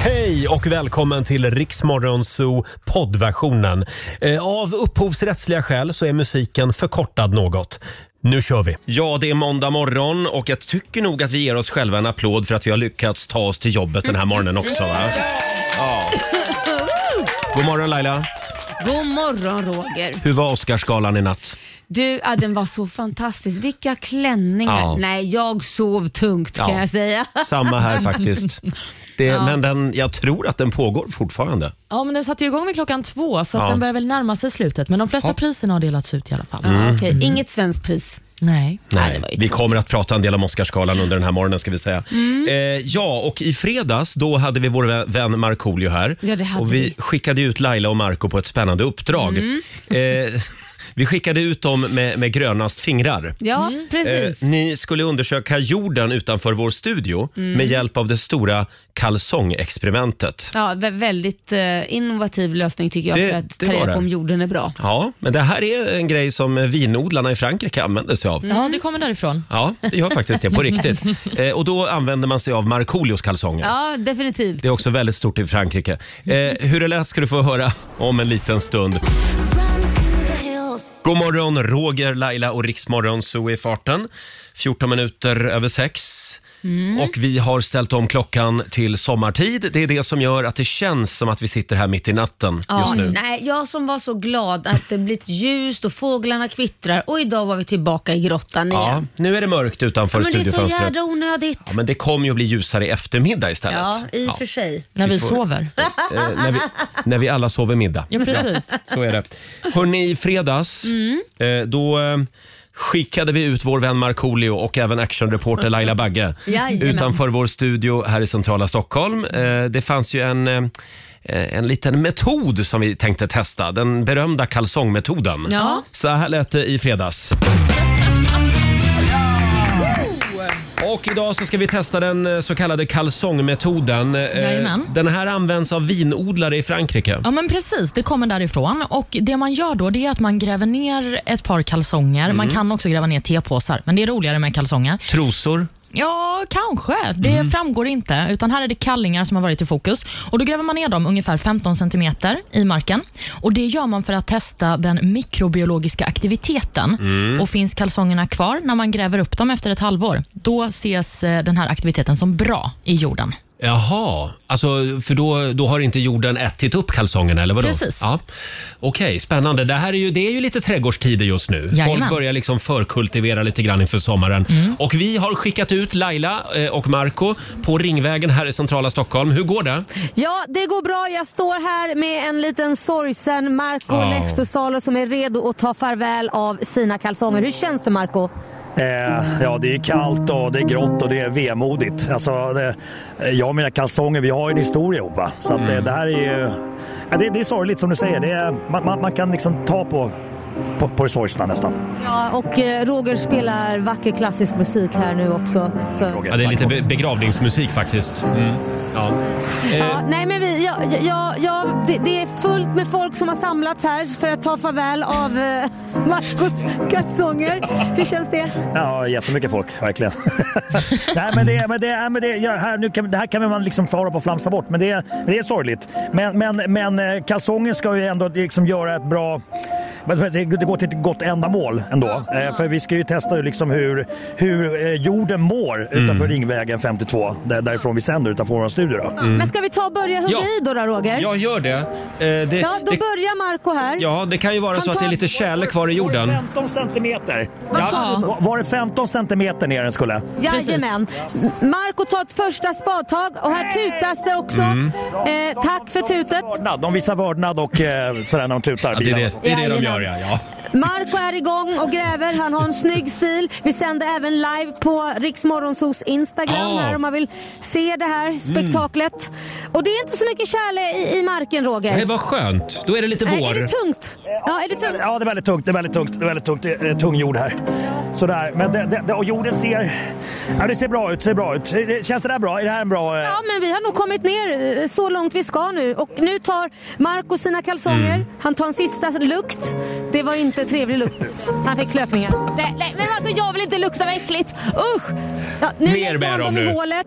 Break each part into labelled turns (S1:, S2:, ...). S1: Hej och välkommen till Riksmorgonzoo poddversionen. Eh, Av upphovsrättsliga skäl så är musiken förkortad något. Nu kör vi! Ja, det är måndag morgon och jag tycker nog att vi ger oss själva en applåd för att vi har lyckats ta oss till jobbet den här morgonen också. Va? Ja. God morgon Laila!
S2: God morgon Roger.
S1: Hur var Oscarsgalan i natt?
S2: Du, ja, den var så fantastisk. Vilka klänningar.
S1: Ja.
S2: Nej, jag sov tungt kan
S1: Ja.
S2: jag säga.
S1: Samma här faktiskt. Det, Men den, jag tror att den pågår fortfarande.
S3: Ja, men den satte ju igång vid klockan två, så
S1: Ja.
S3: att den börjar väl närma sig slutet. Men de flesta priserna har delats ut i alla fall.
S1: Mm.
S2: Okej, Inget svenskt pris.
S3: Nej.
S2: Ja, det
S1: Nej,
S2: var ju
S1: vi kommer att prata en del om Oscarsgalan under den här morgonen ska vi säga.
S2: Mm.
S1: Eh, ja, och i fredags då hade vi vår vä- vän Markoolio här.
S2: Ja, det hade
S1: och vi,
S2: vi. Mm.
S1: skickade ut Laila och Marco på ett spännande uppdrag. Eh, vi skickade ut dem med, med grönast fingrar.
S2: Ja,
S1: Eh,
S2: precis.
S1: ni skulle undersöka jorden utanför vår studio
S2: Mm.
S1: med hjälp av det stora kalsongexperimentet.
S2: Ja, vä- väldigt eh, innovativ lösning tycker jag
S1: Det-
S2: för att
S1: det var
S2: ta reda
S1: det.
S2: på om jorden är bra.
S1: Ja, men det här är en grej som vinodlarna i Frankrike använder sig av.
S2: Mm.
S3: Ja, det kommer därifrån.
S1: Ja, det gör faktiskt det på riktigt. Eh, och då använder man sig av Markoolios kalsonger.
S2: Ja, definitivt.
S1: Det är också väldigt stort i Frankrike. Eh, hur det lät ska du få höra om en liten stund. God morgon, Roger, Laila och Riksmorgon Zoo i farten. 14 minuter över sex.
S2: Mm.
S1: Och vi har ställt om klockan till sommartid. Det är det som gör att det känns som att vi sitter här mitt i natten just nu.
S2: nej, jag som var så glad att det blivit ljust och fåglarna kvittrar och idag var vi tillbaka i grottan
S1: Ja,
S2: igen.
S1: nu är det mörkt utanför
S2: Men det är så
S1: studiofönstret.
S2: jädra onödigt.
S1: Ja, men det kommer ju bli ljusare i eftermiddag istället.
S2: Ja, i och för sig.
S3: När vi,
S1: får-
S3: sover.
S1: Eh, när, vi, när vi alla sover middag.
S3: Ja, precis.
S1: Så är det. Hörrni, i fredags eh, då eh, skickade vi ut vår vän Markoolio och även actionreporter Laila Bagge
S2: Jajamän.
S1: utanför vår studio här i centrala Stockholm. Eh, det fanns ju en eh, en liten metod som vi tänkte testa, den berömda kalsongmetoden.
S2: Ja.
S1: Så här lät det i fredags. Och idag så ska vi testa den eh, så kallade kalsongmetoden. Eh,
S3: Jajamän.
S1: Den här används av vinodlare i Frankrike.
S3: Ja, men precis. Det kommer därifrån. Och Det man gör då det är att man gräver ner ett par kalsonger. Man kan också gräva ner tepåsar, men det är roligare med kalsonger.
S1: Trosor.
S3: Ja, kanske. Det
S1: Mm.
S3: framgår inte. Utan Här är det kallingar som har varit i fokus. Och Då gräver man ner dem ungefär 15 centimeter i marken. Och Det gör man för att testa den mikrobiologiska aktiviteten.
S1: Mm.
S3: Och Finns kalsongerna kvar när man gräver upp dem efter ett halvår, då ses eh, den här aktiviteten som bra i jorden.
S1: Jaha, alltså, för då, då har inte jorden ätit upp kalsongerna eller vadå?
S3: Precis.
S1: Ja. Okej, spännande. Det här är ju, det är ju lite trädgårdstider just nu. Folk
S3: Jajamän.
S1: börjar liksom förkultivera lite grann inför sommaren. Och vi har skickat ut Laila eh, och Marco på Ringvägen här i centrala Stockholm. Hur går det?
S4: Ja, det går bra. Jag står här med en liten sorgsen Marco
S1: Ja.
S4: Lehtosalo som är redo att ta farväl av sina kalsonger. Hur känns det Marco?
S5: Eh, ja, det är kallt och det är grått och det är vemodigt. Alltså, det, jag och mina kalsonger, vi har ju en historia ihop. va? Så att,
S1: Mm.
S5: eh, det här är ju... Ja, det, det är sorgligt som du säger. Det är, man, man, man kan liksom ta på, på, på det sorgsna nästan.
S4: Ja, och eh, Roger spelar vacker klassisk musik här nu också. Så.
S1: Ja, det är lite be- begravningsmusik faktiskt. Mm. Ja.
S4: Ja,
S1: Eh,
S4: nej men vi, ja, ja, ja, ja, det, det är fullt med folk som har samlats här för att ta farväl av eh, Marcos kalsonger. Hur känns det?
S1: Mm.
S5: Ja, jättemycket folk, verkligen. nej, men det, men det, nej, men det, ja, här, nu kan, det här kan man liksom fara på och flamsa bort, men det, det är sorgligt. Men, men, men eh, kalsonger ska ju ändå liksom göra ett bra... men Det det går till ett gott ändamål ändå. Eh, För vi ska ju testa liksom hur, hur eh, jorden mår
S1: Mm.
S5: utanför Ringvägen 52, där, därifrån vi sänder, utanför vår studio. Då.
S1: Mm.
S4: Men ska vi ta och börja hugga
S1: Ja.
S4: i då, då Roger? Ja,
S1: jag gör det. Eh, det,
S4: då
S1: det
S4: börjar Marco här.
S1: ja, det kan ju vara så att det är lite tjäle kvar i jorden.
S5: Var det 15 centimeter?
S3: Ja.
S5: Var- Var det 15 centimeter ner den skulle?
S4: Jajamän. Marco tar ett första spadtag och här tutas det också.
S1: Mm.
S4: Eh, tack för tutet.
S5: Vördnad. De visar vördnad och eh, sådär när de tutar.
S1: Ja, det, är det, det är det de gör
S4: Jajamän.
S1: ja. ja.
S4: Marco är igång och gräver. Han har en snygg stil. Vi sänder även live på Riksmorgonsos Instagram
S1: Ja.
S4: här om man vill se det
S1: Mm.
S4: här spektaklet. Och det är inte så mycket kärle i, i marken Roger.
S1: Nej, vad skönt. Då är det lite
S4: Nej,
S1: vår.
S4: är det tungt? Ja, är det tungt?
S5: Ja, det är väldigt tungt. Det är väldigt tungt. Det är väldigt tungt. Det är tung jord här. Sådär. Men det, det, det, och jorden ser... Ja, det ser bra ut. Ser bra ut. Eh, det- Känns det där bra? Är det här en bra... eh,
S4: Ja, men vi har nog kommit ner eh, så långt vi ska nu. Och nu tar Marco sina kalsonger. Han tar en sista lukt. Det var inte trevlig lukt. Han fick klöpningar. Nej, nej, men Marco, jag vill inte lukta vad äckligt. Usch! Ja, nu
S1: Ner
S4: lägger
S1: med
S4: han
S1: dem
S4: i
S1: nu.
S4: hålet.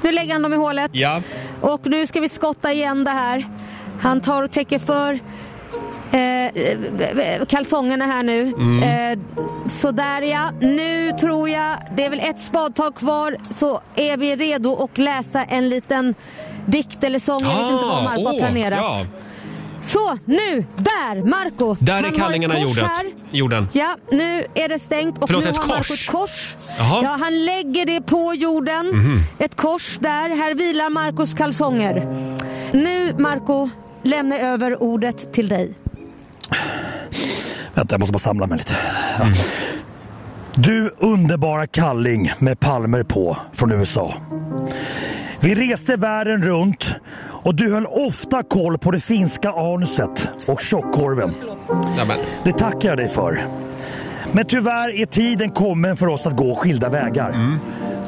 S4: Nu lägger han dem i hålet.
S1: Ja.
S4: Och nu ska vi skotta igen det här. Han tar och täcker för eh, eh, kalsongerna här nu.
S6: Mm.
S4: Eh, sådär ja. Nu tror jag, det är väl ett spadtag kvar så är vi redo att läsa en liten dikt eller sång. Jag vet inte vad Marco har planerat.
S1: Ah, ja.
S4: Så nu, där Marco!
S1: Där
S4: Han
S1: är
S4: har
S1: kallingarna
S4: ett kors
S1: jordet.
S4: här.
S1: jorden.
S4: Ja, nu är det stängt och
S1: Förlåt,
S4: nu
S1: ett
S4: har Marco
S1: kors?
S4: ett kors.
S1: Jaha.
S4: Ja, han lägger det på jorden.
S1: Mhm.
S4: Ett kors där. Här vilar Marcos kalsonger. Nu Marco lämnar jag över ordet till dig.
S5: Vänta, jag måste bara samla mig lite. Ja. Du underbara kalling med palmer på från USA. Vi reste världen runt och du höll ofta koll på det finska anuset och tjockkorven. Det tackar jag dig för. Men tyvärr är tiden kommen för oss att gå skilda vägar.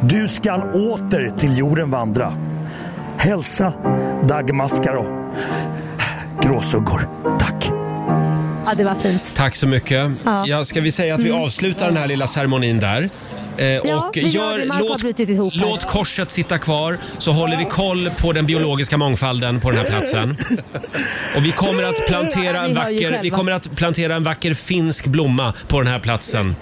S5: Du skall åter till jorden vandra. Hälsa Dagmaskaro. Gråsuggor.
S4: Ja, det var fint.
S1: Tack så mycket. Ja.
S4: Ja.
S1: ska vi säga att vi
S4: Mm.
S1: avslutar den här lilla ceremonin där? Eh,
S4: Ja,
S1: och
S4: vi gör det. Marco har
S1: låt,
S4: brutit ihop här.
S1: låt korset sitta kvar så håller vi koll på den biologiska mångfalden på den här platsen. Och vi kommer att plantera
S7: Ja,
S1: en
S7: ni hör ju
S1: vacker,
S7: själva.
S1: vi kommer att plantera en vacker finsk blomma på den här platsen.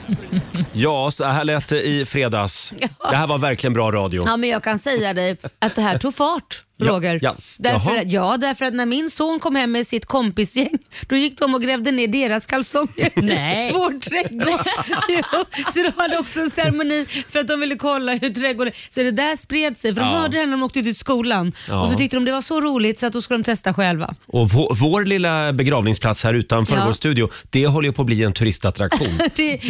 S1: Ja, så här lät det i fredags. Det här var verkligen bra radio.
S2: Ja, men jag kan säga dig att det här tog fart, Roger.
S1: Ja, yes.
S2: Därför,
S1: Jaha.
S2: ja, därför att när min son kom hem med sitt kompisgäng, då gick de och grävde ner deras kalsonger
S3: Nej.
S2: i vår trädgård. Jo, så de hade också en ceremoni för att de ville kolla hur trädgården... Så det där spred sig, för de
S1: Ja.
S2: hörde det här när de åkte ut i skolan.
S1: Ja.
S2: Och så tyckte de det var så roligt så att då skulle de testa själva.
S1: Och vår, vår lilla begravningsplats här utanför
S2: Ja.
S1: vår studio, det håller ju på att bli en turistattraktion.
S2: Det-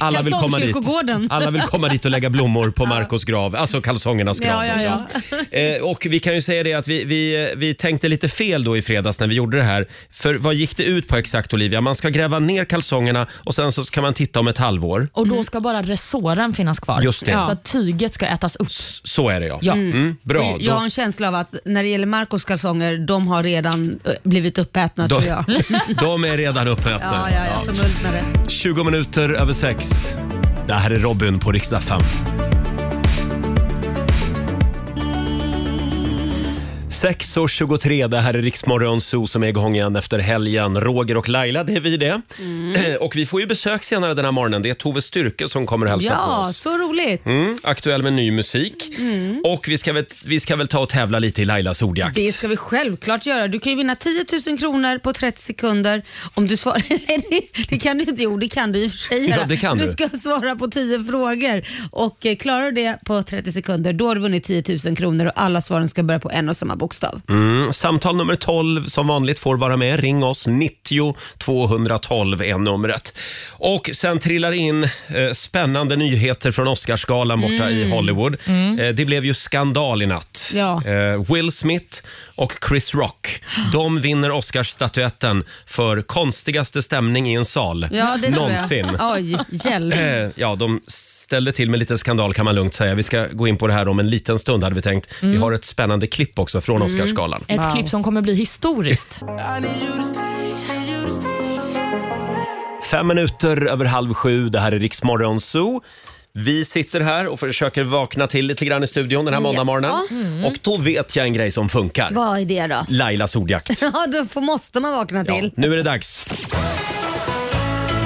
S1: Alla vill, komma dit.
S2: Kalsongkyrkogården.
S1: Alla vill komma dit och lägga blommor på Marcos grav, alltså kalsongernas grav.
S2: Ja, ja, ja.
S1: Eh, och vi kan ju säga det att vi, vi, vi tänkte lite fel då i fredags när vi gjorde det här. För vad gick det ut på exakt Olivia? Man ska gräva ner kalsongerna och sen så kan man titta om ett halvår.
S3: Och då ska bara resåren finnas kvar.
S1: Just det.
S3: Så att tyget ska ätas upp.
S1: Så är det ja.
S3: Ja.
S1: Mm, bra.
S2: Och Jag har
S1: Då-
S2: en känsla av att när det gäller Marcos kalsonger, de har redan eh, blivit uppätna tror jag.
S1: de är redan uppätna.
S2: Ja, ja, jag förmultnade.
S1: 20 minuter över sex. Det här är Robin på riksdag 5. Sex och 23, det här är Riksmorgon Zoo som är igång igen efter helgen. Roger och Laila, det är vi det.
S2: Mm.
S1: Och vi får ju besök senare den här morgonen. Det är Tove Styrke som kommer och hälsar på
S2: Ja,
S1: oss.
S2: så roligt.
S1: Mm, aktuell med ny musik.
S2: Mm.
S1: Och vi ska, väl, vi ska väl ta och tävla lite i Lailas ordjakt.
S2: Det ska vi självklart göra. Du kan ju vinna 10 000 kronor på 30 sekunder om du svarar... Nej, det, det kan du inte. Jo, det kan du i och för sig
S1: Ja,
S2: göra.
S1: det kan
S2: du.
S1: du.
S2: ska svara på 10 frågor och eh, klarar du det på 30 sekunder, då har du vunnit 10 000 kronor och alla svaren ska börja på en och samma bokstav.
S1: Mm, samtal nummer 12 som vanligt får vara med. Ring oss, 90 212 är numret. Och sen trillar in eh, spännande nyheter från Oscarsgalan borta
S2: Mm.
S1: i Hollywood.
S2: Mm.
S1: Eh, det blev ju skandal i natt.
S2: Ja.
S1: Eh, Will Smith och Chris Rock, de vinner Oscarsstatyetten för konstigaste stämning i en sal
S2: Ja, det tror
S1: någonsin.
S2: jag. Oj, hjälp.
S1: Eh, Ja, de ställde till med lite skandal kan man lugnt säga. Vi ska gå in på det här om en liten stund hade vi tänkt. Vi
S3: Mm.
S1: har ett spännande klipp också från
S2: Mm.
S1: Oscarsgalan.
S3: Ett klipp som kommer bli historiskt.
S1: Fem minuter över halv sju, det här är Riksmorgon Zoo. Vi sitter här och försöker vakna till lite grann i studion den här
S2: Ja.
S1: måndagmorgonen.
S2: Mm.
S1: Och då vet jag en grej som funkar.
S2: Vad är det då?
S1: Lailas ordjakt.
S2: Ja, då får, måste man vakna till.
S1: Nu är det dags.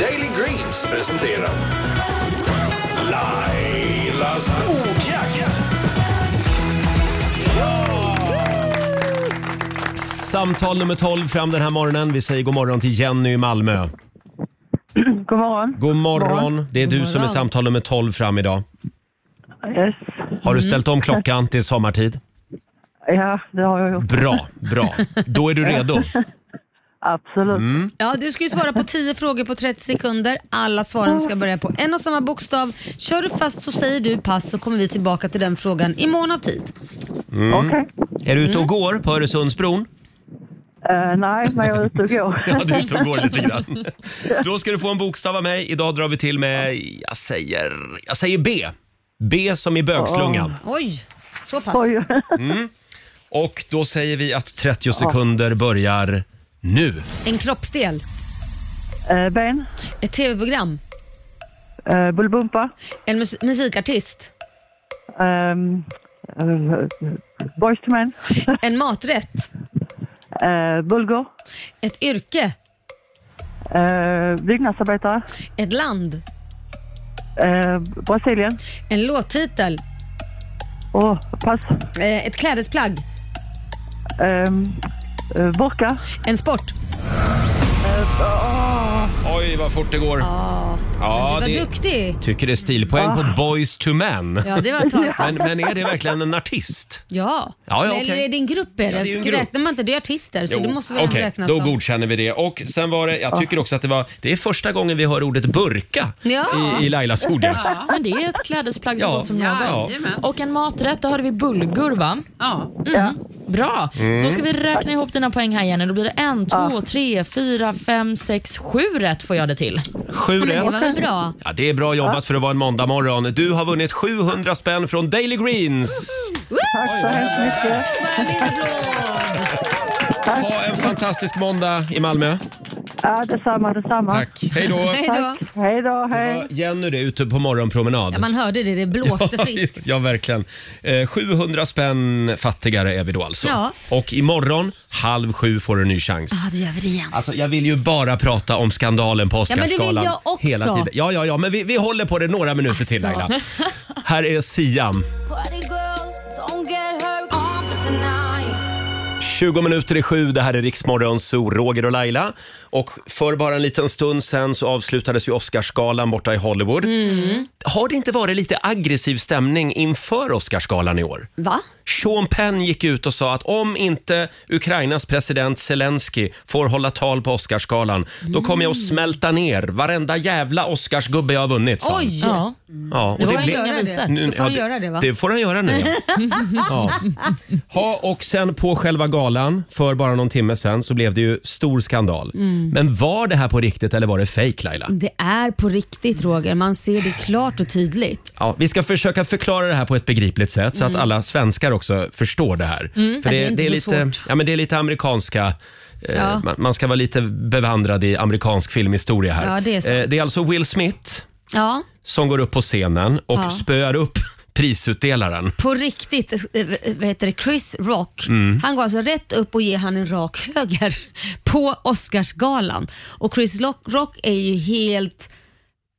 S8: Daily Greens presenterar Lailas ordjakt.
S1: Samtal nummer 12 fram den här morgonen. Vi säger god morgon till Jenny i Malmö.
S9: God morgon.
S1: God morgon.
S9: morgon.
S1: Det är du
S9: God
S1: som är
S9: morgon.
S1: samtal nummer 12 fram idag.
S9: Yes.
S1: Har du
S9: Mm.
S1: ställt om klockan till sommartid?
S9: Ja, det har jag gjort.
S1: Bra, bra. Då är du redo.
S9: Absolut.
S1: Mm.
S2: Ja, du ska ju svara på 10 frågor på 30 sekunder. Alla svaren ska börja på en och samma bokstav. Kör du fast så säger du pass så kommer vi tillbaka till den frågan i mån av tid.
S1: Mm. Är du ute och
S2: Mm.
S1: går på Öresundsbron?
S9: Eh, nej, men jag är ute och går.
S1: Ja, du är ute och går lite grann. Då ska du få en bokstav av mig. Idag drar vi till med, jag säger, jag säger B. B som i bögslungan.
S2: Oj, så pass.
S1: Mm. Och då säger vi att 30 sekunder börjar nu.
S2: En kroppsdel.
S9: Eh, ben.
S2: Ett tv-program.
S9: Uh, Bullbumpa.
S2: En mus musikartist.
S9: Um, eh, boys to men.
S2: En maträtt.
S9: Eh, Bulgur.
S2: Ett yrke.
S9: Eh, byggnadsarbetare.
S2: Ett land.
S9: Eh, Brasilien.
S2: En låttitel.
S9: Åh, pass.
S2: Eh, Ett klädesplagg.
S9: Eh, eh, Burka.
S2: En sport.
S1: Oj, vad fort det går.
S2: Ja,
S1: Ja,
S2: du var
S1: det-
S2: duktig. Ah.
S1: Tycker det är stilpoäng på Boys to Men.
S2: Ja, det var ett tag
S1: Men,
S2: sedan.
S1: men är det verkligen en artist?
S2: Ja.
S1: Ja, ja,
S2: Eller
S1: okej.
S2: är det en grupp? Eller?
S1: Ja, det är ju en grupp.
S2: Räknar man inte? Det är artister, så det måste väl ändå
S1: Okej,
S2: räknas
S1: då
S2: som.
S1: godkänner vi det. Och sen var det, jag tycker också att det var, det är första gången vi hör ordet burka
S2: Ja.
S1: i, i Lailas ordjakt.
S3: Ja, men det är ett klädesplagg så
S1: Ja.
S3: gott som
S1: Ja,
S3: något.
S6: jajamän.
S3: Och en maträtt, då hörde vi bulgur va? Mm.
S6: Ja.
S3: Bra!
S1: Mm.
S3: Då ska vi räkna ihop dina poäng här Jenny. Då blir det en, två, tre, fyra, fem, sex, sju rätt får jag det till.
S1: Sju
S2: Men det var väl
S1: rätt.
S2: bra?
S1: Ja, det är bra jobbat för att vara en måndagmorgon. Du har vunnit 700 spänn från Daily Greens.
S9: Tack så hemskt mycket.
S1: Ha en fantastisk måndag i Malmö.
S9: Ja, detsamma, detsamma.
S1: Tack. Hej då.
S2: Hej då.
S9: Tack. Hej då, hej.
S1: Ja, Jenny det är ute på morgonpromenad.
S2: Ja, man hörde det, det blåste friskt.
S1: Ja, verkligen. Eh, 700 spänn fattigare är vi då alltså.
S2: Ja. Ah,
S1: Och imorgon, halv sju, får du en ny chans.
S2: Ja, då gör vi det igen.
S1: Alltså, jag vill ju bara prata om skandalen på
S2: Ja, men det vill
S1: Oscarsgalan.
S2: jag också.
S1: Hela tiden. Ja, ja, ja, men vi, vi håller på det några minuter till
S2: Alltså.
S1: Laila. Här är Siam. 20 minuter i sju, det här är Riksmorgon Zoo, Roger och Laila. Och för bara en liten stund sen så avslutades ju Oscarsgalan borta i Hollywood.
S2: Mm.
S1: Har det inte varit lite aggressiv stämning inför Oscarsgalan i år?
S2: Va?
S1: Sean Penn gick ut och sa att om inte Ukrainas president Zelensky får hålla tal på Oscarsgalan, då kommer jag att
S2: Mm.
S1: smälta ner varenda jävla Oscarsgubbe jag har vunnit. sa han.
S2: Oj!
S3: Ja.
S1: Ja, och
S2: Får
S1: det
S2: han
S1: blev-
S2: göra det?
S1: Nu-
S2: Då får han
S1: ja,
S2: göra det va?
S1: Det får han göra nu. Ja. ja. Ha, och sen på själva galan för bara någon timme sen så blev det ju stor skandal.
S2: Mm.
S1: Men var det här på riktigt eller var det fejk Laila?
S2: Det är på riktigt Roger, man ser det klart och tydligt.
S1: Ja, vi ska försöka förklara det här på ett begripligt sätt så
S2: Mm.
S1: att alla svenskar också förstår det här. För
S2: det är Mm. inte
S1: är
S2: så
S1: lite,
S2: svårt.
S1: ja, men det är lite amerikanska eh,
S2: Ja.
S1: man, man ska vara lite bevandrad i amerikansk filmhistoria här.
S2: Ja, det är sant.
S1: Eh, det är alltså Will Smith
S2: Ja,
S1: som går upp på scenen och
S2: Ja.
S1: spöar upp prisutdelaren.
S2: på riktigt. eh, Vad heter det? Chris Rock.
S1: Mm.
S2: Han går alltså rätt upp och ger han en rak höger på Oscarsgalan. Och Chris Lock- Rock är ju helt...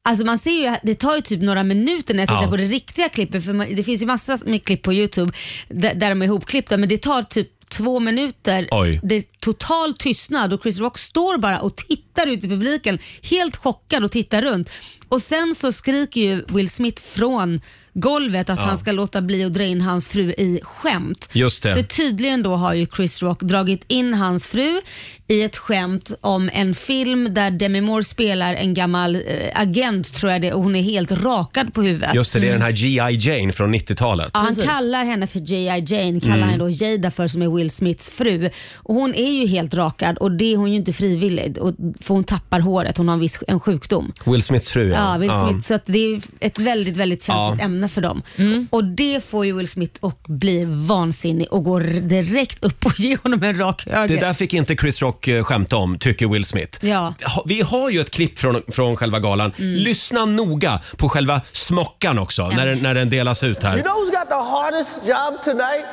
S2: Alltså man ser ju, att det tar ju typ några minuter när jag tittar
S1: Ja.
S2: på det riktiga klippet, för man, det finns ju massa med klipp på Youtube där, där de är ihopklippta, men det tar typ två minuter.
S1: Oj.
S2: Det är total tystnad och Chris Rock står bara och tittar ut i publiken, helt chockad och tittar runt. Och sen så skriker ju Will Smith från golvet att han ska låta bli att dra in hans fru i skämt.
S1: Just det.
S2: För tydligen då har ju Chris Rock dragit in hans fru i ett skämt om en film där Demi Moore spelar en gammal eh, agent tror jag det och hon är helt rakad på huvudet.
S1: Just det, det är den här G.I. Jane från 90-talet.
S2: Mm. Ja, han
S3: Precis.
S2: kallar henne för J.I. Jane, kallar han då Jada för som är Will Smiths fru. Och hon är ju helt rakad och det är hon ju inte frivillig och, för hon tappar håret, hon har en, viss, en sjukdom.
S1: Will Smiths fru
S2: Ja, Will Smith. Så att det är ett väldigt, väldigt känsligt
S1: Ja.
S2: ämne för dem. Och det får ju Will Smith och bli vansinnig och går direkt upp och ger honom en rak höger.
S1: Det där fick inte Chris Rock eh, skämta om, tycker Will Smith.
S2: Ja. Mm.
S1: Ha- Vi har ju ett klipp från, från själva galan. Lyssna noga på själva smockan också, när, den, när den delas ut här.
S7: You know who's got the hardest job tonight?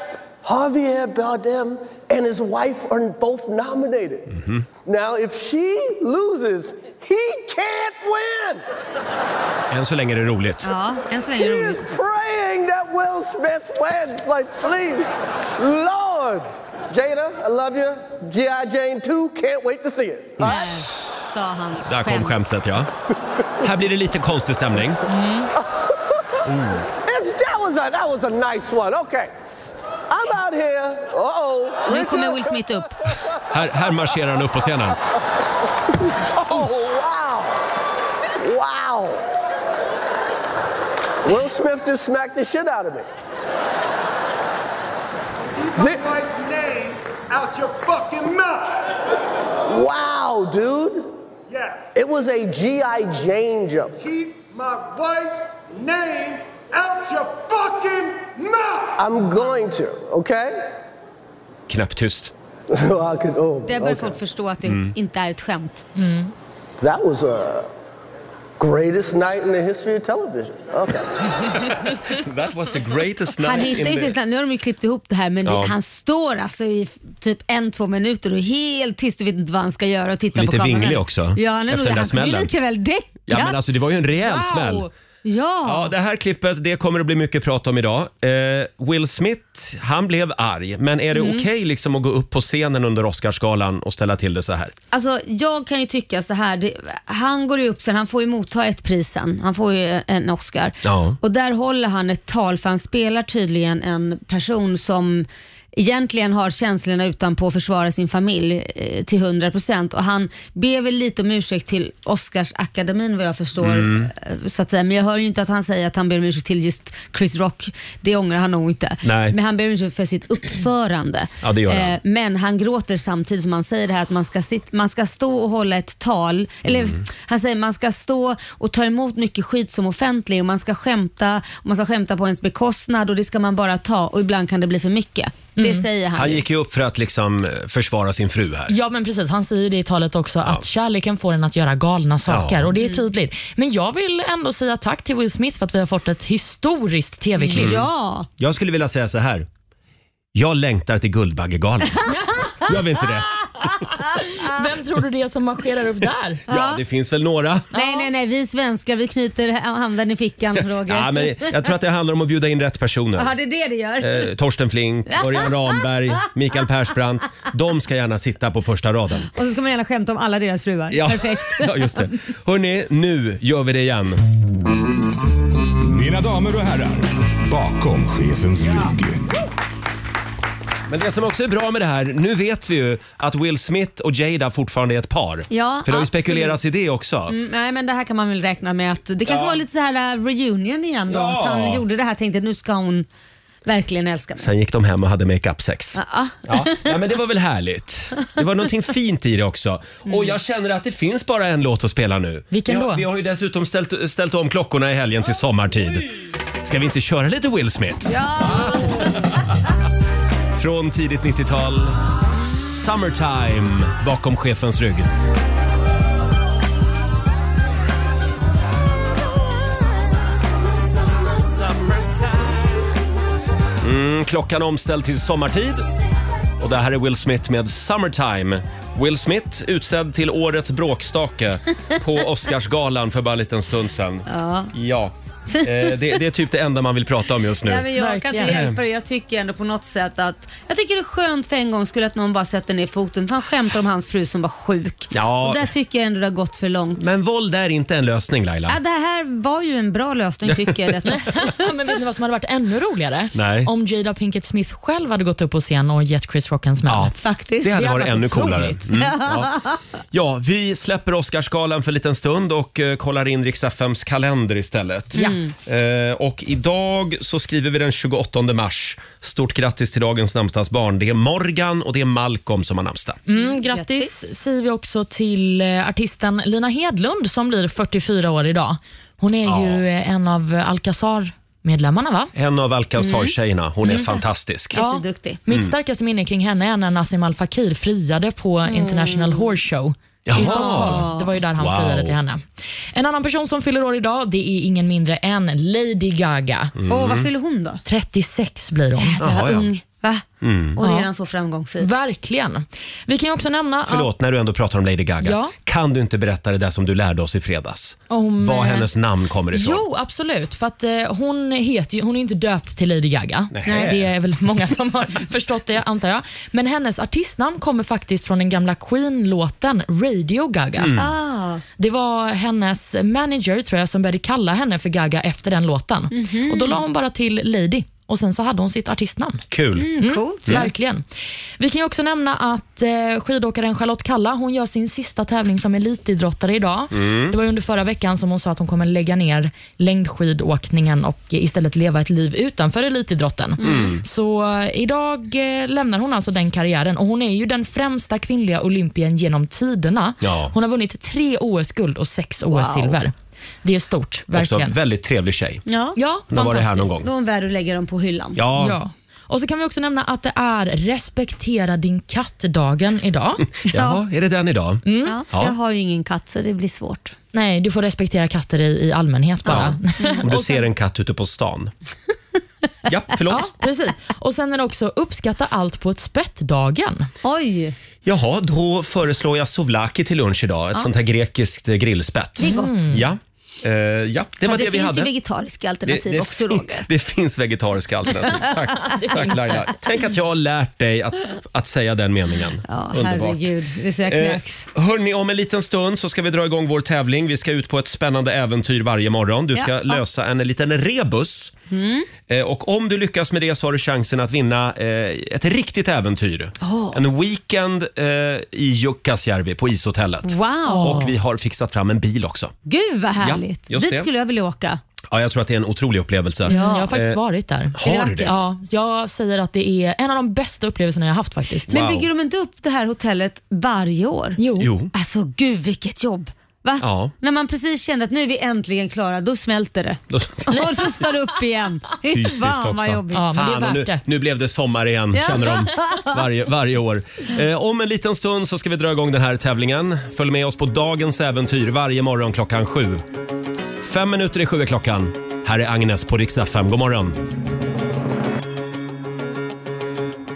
S7: Javier Bardem and his wife are both nominated. Now, if she loses, he can't win.
S1: Än så länge är det roligt.
S2: Ja, än så
S7: He
S2: länge
S7: is
S2: roligt.
S7: praying that Will Smith wins. Like, please, Lord. Jada, I love you. G.I. Jane 2, can't wait to see it. All right?
S2: Sa han.
S1: Där kom skämtet ja. Här blir det lite konstig stämning.
S7: It's, that, was a, that was a nice one. Okay. I'm out here. Uh-oh.
S2: Nu kommer
S7: Richard.
S2: Will Smith upp.
S1: Här, här marscherar han upp på scenen.
S7: Oh, wow. Wow. Will Smith just smacked the shit out of me.
S8: My wife's name out your fucking mouth!
S7: Wow, dude.
S8: Yes.
S7: It was a G.I. Jane jump.
S8: Keep my wife's name out your fucking mouth!
S7: I'm going to, okay?
S1: Knäpptyst.
S7: So I could, oh,
S2: Där börjar
S1: Mm.
S7: okay.
S2: folk förstå att det inte är ett skämt.
S7: That was a Greatest night in the history of television. Okay.
S1: That was the greatest
S2: Han
S1: night
S2: hittar ju sin snabb. Nu har de ju klippt ihop det här men
S1: Ja.
S2: det, han står alltså i f- typ en, två minuter och är helt tyst och vet inte vad han ska göra och titta
S1: Lite
S2: på kameran.
S1: vinglig också,
S2: Ja,
S1: efter
S2: nej,
S1: den
S2: efter den
S1: där
S2: han kunde ju
S1: smällen.
S2: lika väl däcka.
S1: Ja, men alltså det var ju en rejäl smäll. Ja,
S2: Ja.
S1: det här klippet det kommer att bli mycket prat om idag. Eh, Will Smith, han blev arg. Men är det
S2: Mm.
S1: okej liksom att gå upp på scenen under Oscarsgalan och ställa till det så här?
S2: Alltså, jag kan ju tycka så här. Det, han går ju upp sen, han får ju motta ett pris sen. Han får ju en Oscar.
S1: Ja.
S2: Och där håller han ett tal för han spelar tydligen en person som egentligen har känslorna utanpå att försvara sin familj eh, till 100% och han ber väl lite om ursäkt till Oscarsakademin vad jag förstår.
S1: Mm.
S2: eh, Så att säga. Men jag hör ju inte att han säger att han ber om ursäkt till just Chris Rock. Det ångrar han nog inte.
S1: Nej.
S2: Men han ber om ursäkt för sitt uppförande.
S1: Ja, det gör han.
S2: Eh, men han gråter samtidigt som han säger det här att man ska, sit, man ska stå och hålla ett tal. Eller
S1: Mm.
S2: han säger man ska stå och ta emot mycket skit som offentlig och man ska skämta och man ska skämta på ens bekostnad och det ska man bara ta och ibland kan det bli för mycket. Det säger
S1: Mm.
S2: han.
S1: Han
S2: ju.
S1: gick ju upp för att liksom eh, försvara sin fru här.
S3: Ja, men precis. Han säger det i talet också, att kärleken får en att göra galna saker.
S1: Ja.
S3: Och
S2: Mm.
S3: Det är tydligt. Men jag vill ändå säga tack till Will Smith för att vi har fått ett historiskt TV-klipp.
S2: Ja,
S1: Jag skulle vilja säga så här. Jag längtar till Guldbaggegalan. Gör vi inte det?
S3: Vem tror du det är som marscherar upp där?
S1: Ja, det finns väl några.
S2: nej nej nej vi svenskar vi knyter handen i fickan Roger.
S1: Ja, men jag tror att det handlar om att bjuda in rätt
S2: Ja,
S1: personer.
S2: det är det det gör.
S1: Eh, Torsten Flink, Örjan Ramberg, Mikael Persbrandt. De ska gärna sitta på första raden.
S2: Och så ska man gärna skämta om alla deras fruar.
S1: Ja.
S2: Perfekt.
S1: ja, just det. Hörni, nu gör vi det igen.
S6: Mina damer och herrar, bakom chefens rygg.
S1: Men det som också är bra med det här, nu vet vi ju att Will Smith och Jada fortfarande är ett par.
S2: Ja,
S1: För det har ju
S2: absolut.
S1: spekulerats i det också.
S2: Mm, Nej men det här kan man väl räkna med att det kanske var lite så här äh, reunion igen då.
S1: Ja.
S2: Att han gjorde det här tänkte att nu ska hon verkligen älska mig.
S1: Sen gick de hem och hade makeup-sex.
S3: ah.
S2: Ja.
S1: Ja, nej, men det var väl härligt. Det var någonting fint i det också. Och jag känner att det finns bara en låt att spela nu.
S3: Mm. Vilken
S1: vi har,
S3: då?
S1: Vi har ju dessutom ställt, ställt om klockorna i helgen till sommartid. Ska vi inte köra lite Will Smith? Från tidigt 90-tal. Summertime bakom chefens rygg. Mm, klockan omställd till sommartid. Och det här är Will Smith med Summertime. Will Smith utsedd till årets bråkstake på Oscarsgalan för bara en liten stund sedan. Ja. Eh, det, det är typ det enda man vill prata om just nu.
S2: Nej, men jag kan
S3: Verkligen.
S2: inte hjälpa det. Jag tycker ändå på något sätt att jag tycker det är skönt för en gång skulle att någon bara sätter ner foten. För han skämtar om hans fru som var sjuk.
S1: Ja.
S2: Och där tycker jag ändå det har gått för långt.
S1: Men våld är inte en lösning Laila.
S2: Ja, det här var ju en bra lösning tycker jag. Detta.
S3: Men vet ni vad som hade varit ännu roligare?
S1: Nej.
S3: Om Jada Pinkett Smith själv hade gått upp på scen och gett Chris Rock en smäll.
S1: Ja.
S2: Faktiskt.
S1: Det hade
S3: Det hade
S1: varit
S3: varit
S1: ännu coolare.
S3: otroligt.
S1: Mm, ja. ja, vi släpper Oscarsgalan för en liten stund och eh, kollar in Rix FMs kalender istället.
S3: Ja.
S1: Eh, och idag så skriver vi den 28 mars. Stort grattis till dagens namnsdagsbarn. Det är Morgan och det är Malcolm som har namnsdag.
S3: Mm, grattis säger vi också till eh, artisten Lina Hedlund som blir 44 år idag. Hon är ju eh, en av Alcazar-medlemmarna va?
S1: En av
S3: Mm.
S1: Alcazar-tjejerna. Hon är fantastisk.
S2: Jätteduktig.
S1: Mm.
S3: Mitt starkaste minne kring henne är när Nassim Al Fakir friade på International Horse Show. I Stockholm. Det var ju där han
S1: Wow.
S3: friade till henne. En annan person som fyller år idag, det är ingen mindre än Lady Gaga.
S2: Åh, vad fyller hon då?
S3: 36 blir hon.
S2: Jädrar
S1: Jaha,
S2: vad
S1: Mm. ja.
S2: ung. Va?
S1: Mm.
S2: Och
S3: Ja.
S2: redan så framgångsrik.
S3: Verkligen. Vi kan ju också nämna
S1: Förlåt, när du ändå pratar om Lady Gaga.
S3: Ja.
S1: Kan du inte berätta det där som du lärde oss i fredags?
S3: om...
S1: Var
S3: eh,
S1: hennes namn kommer ifrån?
S3: Jo, absolut. För att eh, hon, heter ju, hon är ju inte döpt till Lady Gaga.
S1: Nej.
S3: Det är väl många som har förstått det, antar jag. Men hennes artistnamn kommer faktiskt från den gamla Queen-låten Radio Gaga.
S1: Mm.
S2: Ah.
S3: Det var hennes manager, tror jag, som började kalla henne för Gaga efter den låten. Och Då la hon bara till Lady och sen så hade hon sitt artistnamn.
S1: Kul.
S3: Mm,
S2: Coolt.
S1: Mm.
S3: Verkligen. Vi kan ju också nämna att eh, skidåkaren Charlotte Kalla hon gör sin sista tävling som elitidrottare idag.
S1: Mm.
S3: Det var ju under förra veckan som hon sa att hon kommer lägga ner längdskidåkningen och eh, istället leva ett liv utanför elitidrotten.
S1: Mm.
S3: Så eh, idag eh, lämnar hon alltså den karriären och hon är ju den främsta kvinnliga olympien genom tiderna.
S1: Ja.
S3: Hon har vunnit tre OS-guld och sex OS-silver. Det är stort,
S1: Också
S3: verkligen.
S1: väldigt trevlig tjej.
S2: Ja.
S3: Ja,
S1: Hon har varit här någon
S3: fantastiskt.
S1: gång.
S2: Då är hon värd att lägga dem på hyllan.
S1: Ja,
S3: Ja. Och så kan vi också nämna att det är respektera din katt-dagen idag.
S1: Jaha, är det den idag?
S2: Ja,
S1: Ja.
S2: Jag har ju ingen katt så det blir svårt.
S3: Nej, du får respektera katter i, i allmänhet bara.
S1: Om du ser en katt ute på stan. Ja, förlåt.
S3: Ja, precis. Och sen är det också uppskatta allt på ett spett-dagen.
S2: Oj,
S1: Jaha, då föreslår jag souvlaki till lunch idag. Ett sånt här grekiskt eh, grillspett.
S2: det är gott.
S1: Ja. Eh, ja, det var
S2: Men
S1: det,
S2: det,
S1: vi
S2: finns
S1: hade.
S2: ju vegetariska alternativ också
S1: fin-
S2: Roger.
S1: det finns vegetariska alternativ. Tack, Tack Laila. Tänk att jag har lärt dig att, att säga den meningen.
S2: Ja, herregud. Det är så jag
S1: Eh,
S2: knäcks.
S1: hörni, om en liten stund så ska vi dra igång vår tävling. Vi ska ut på ett spännande äventyr varje morgon. Du ska
S2: Ja. Mm.
S1: lösa en liten rebus. Eh, och om du lyckas med det så har du chansen att vinna eh, ett riktigt äventyr.
S2: Åh.
S1: En weekend eh, i Jukkasjärvi på ishotellet.
S2: Wow,
S1: Och vi har fixat fram en bil också.
S2: gud vad härligt.
S1: just
S2: Dit
S1: det.
S2: skulle jag vilja åka.
S1: Ja, jag tror att det är en otrolig upplevelse.
S3: Ja. Mm, Jag har faktiskt
S1: Eh,
S3: varit där.
S1: Har du det?
S3: Ja, så jag säger att det är en av de bästa upplevelserna jag har haft faktiskt.
S2: Men
S1: Wow.
S2: bygger de inte upp det här hotellet varje år?
S3: Jo.
S1: Jo.
S2: Alltså gud vilket jobb. Va?
S1: Ja.
S2: När man precis kände att nu är vi äntligen klara, då smälter det. Och så ska det upp igen. Fy
S1: Typiskt
S2: Fan
S1: också.
S2: vad jobbigt.
S3: Ja, men det
S1: Fan,
S3: är
S1: och
S3: värt
S1: Ah, nu,
S3: det.
S1: nu blev det sommar igen, känner de varje, varje år. Eh, om en liten stund så ska vi dra igång den här tävlingen. Följ med oss på dagens äventyr varje morgon klockan sju. Fem minuter i sju är klockan. Här är Agnes på riksdag 5. God morgon!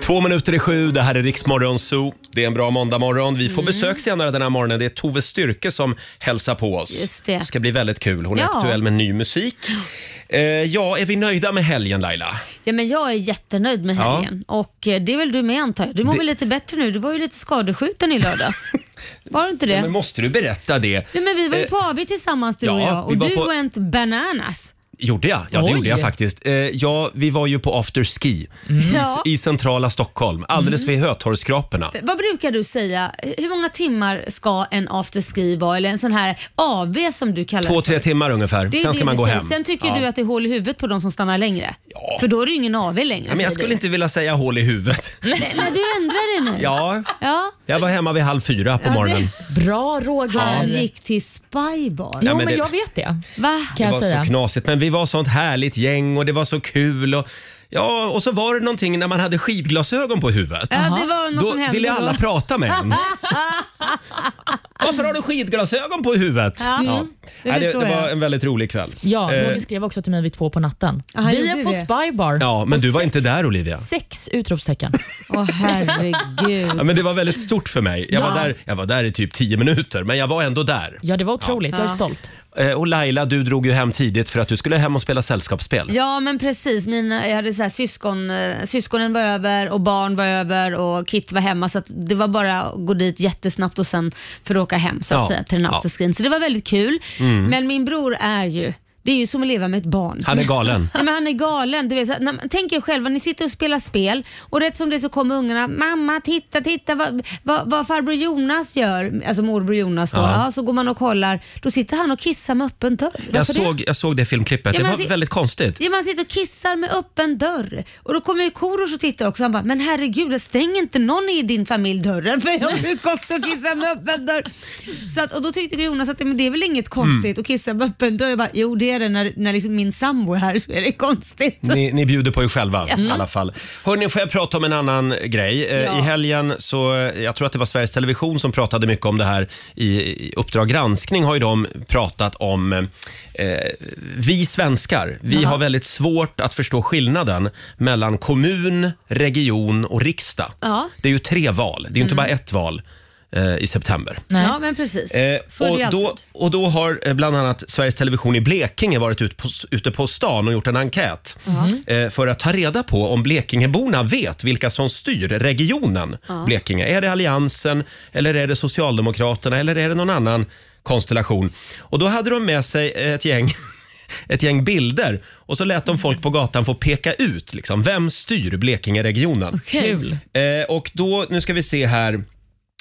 S1: Två minuter i sju, det här är Riksmorgon Zoo. Det är en bra måndagmorgon. Vi
S2: Mm.
S1: får besök senare den här morgonen. Det är Tove Styrke som hälsar på oss.
S2: Just det.
S1: ska bli väldigt kul. Hon är
S2: Ja.
S1: aktuell med ny musik. Eh, ja, är vi nöjda med helgen Laila?
S2: Ja, men jag är jättenöjd med
S1: Ja.
S2: helgen och eh, det är väl du med antar jag. Du mår
S1: Det-
S2: väl lite bättre nu? Du var ju lite skadeskjuten i lördags. Var du inte det?
S1: Ja, men måste du berätta det?
S2: Nej, men vi var ju
S1: Eh,
S2: på AB tillsammans du och
S1: ja,
S2: jag
S1: vi
S2: och
S1: var
S2: du
S1: på-
S2: went bananas.
S1: Gjorde jag? Ja, det
S3: Oj.
S1: gjorde jag faktiskt. Eh, ja, vi var ju på afterski
S2: Mm. Ja. Mm.
S1: i centrala Stockholm, alldeles vid Hötorgsskraporna.
S2: Vad brukar du säga? Hur många timmar ska en afterski vara eller en sån här AB som du kallar
S1: Två,
S2: det?
S1: tre timmar ungefär,
S2: Det är
S1: sen
S2: ju
S1: ska
S2: det
S1: man
S2: du
S1: gå
S2: säger.
S1: hem.
S2: Sen tycker
S1: Ja.
S2: du att det är hål i huvudet på de som stannar längre.
S1: Ja.
S2: För då är det ju ingen AV längre.
S1: Ja, men
S2: säger
S1: jag skulle
S2: du.
S1: inte vilja säga hål i huvudet.
S2: Nej, nej, du ändrar det nu.
S1: Ja,
S2: Ja.
S1: jag var hemma vid halv fyra på
S2: det-
S1: morgonen.
S3: Bra Roger.
S2: Han gick till spybar.
S3: Jo,
S1: men
S3: men,
S1: det-
S3: jag vet det.
S2: Va?
S3: Kan
S1: Det
S3: jag
S1: var
S3: säga.
S1: så knasigt, men vi var sånt härligt gäng och det var så kul. Och, ja, och så var det någonting när man hade skidglasögon på huvudet.
S2: Ja, det var något
S1: Då
S2: som hände
S1: ville alla
S2: då.
S1: prata med en. Varför har du skidglasögon på huvudet? Ja.
S2: Mm, det
S1: Nej, det,
S2: förstår
S1: det var
S2: jag.
S1: en väldigt rolig kväll.
S3: Ja,
S1: Eh,
S3: Roger skrev också till mig vid två på natten.
S2: han
S3: Vi
S2: gjorde
S3: är på
S2: det.
S3: Spybar.
S1: ja, men
S3: Och
S1: du var
S3: sex-
S1: inte där Olivia.
S3: Sex utropstecken.
S2: Åh
S1: Ja,
S2: herregud.
S1: men det var väldigt stort för mig. Jag, var
S3: Ja.
S1: där, jag var där i typ 10 minuter, men jag var ändå där.
S3: Ja, det var otroligt. Jag är stolt.
S1: Eh, Och Laila, du drog ju hem tidigt för att du skulle hem och spela sällskapsspel.
S2: Ja men precis, Mina, jag hade så här, syskon, eh, syskonen var över och barn var över och Kit var hemma så att det var bara att gå dit jättesnabbt och sen för att åka hem så att
S1: Ja.
S2: säga till den
S1: Ja. Mm.
S2: afterscreen. Så det var väldigt kul. Men min bror är ju, det är ju som att leva med ett barn.
S1: Han är galen.
S2: Nej, men han är galen. Du vet, så att när man, tänk er själva, ni sitter och spelar spel och rätt som det så kommer ungarna. Mamma, titta, titta vad, vad, vad farbror Jonas gör. Alltså morbror Jonas då.
S1: Ja.
S2: Ja. så går man och kollar. Då sitter han och kissar med öppen dörr.
S1: Jag
S2: Varför det?
S1: såg, jag såg det filmklippet.
S2: Ja,
S1: det
S2: men alltså,
S1: var
S2: se-
S1: väldigt konstigt.
S2: Ja, man sitter och kissar med öppen dörr. Och då kommer ju Korosh och tittar också. Han bara, men herregud, stäng inte någon i din familj dörren för jag brukar också kissa med öppen dörr. Så att, och då tyckte Jonas att men det är väl inget konstigt
S1: Mm.
S2: att kissa med öppen dörr. Jag bara, jo det är det när, när liksom min sambo är här så är det konstigt.
S1: Ni, ni bjuder på er själva i alla fall. Hörni, får jag prata om en annan grej? Eh,
S2: Ja.
S1: I helgen så, eh, jag tror att det var Sveriges Television som pratade mycket om det här i, i Uppdrag granskning har ju de pratat om eh, vi svenskar, vi har väldigt svårt att förstå skillnaden mellan kommun, region och riksdag.
S2: Ja. Mm.
S1: Det är ju tre val, det är ju inte bara ett val eh, i september.
S3: Nej.
S2: Ja men precis.
S1: Eh,
S2: så är det
S1: och,
S2: ju alltid.
S1: då, och då har eh, bland annat Sveriges Television i Blekinge varit ut på, ute på stan och gjort en enkät
S2: Mm.
S1: eh, för att ta reda på om Blekingeborna vet vilka som styr regionen Blekinge. Är det Alliansen eller är det Socialdemokraterna eller är det någon annan konstellation? Och då hade de med sig ett gäng ett gäng bilder och så lät de folk på gatan få peka ut liksom, vem styr Blekinge-regionen.
S3: Kul.
S1: Eh, och då, nu ska vi se här.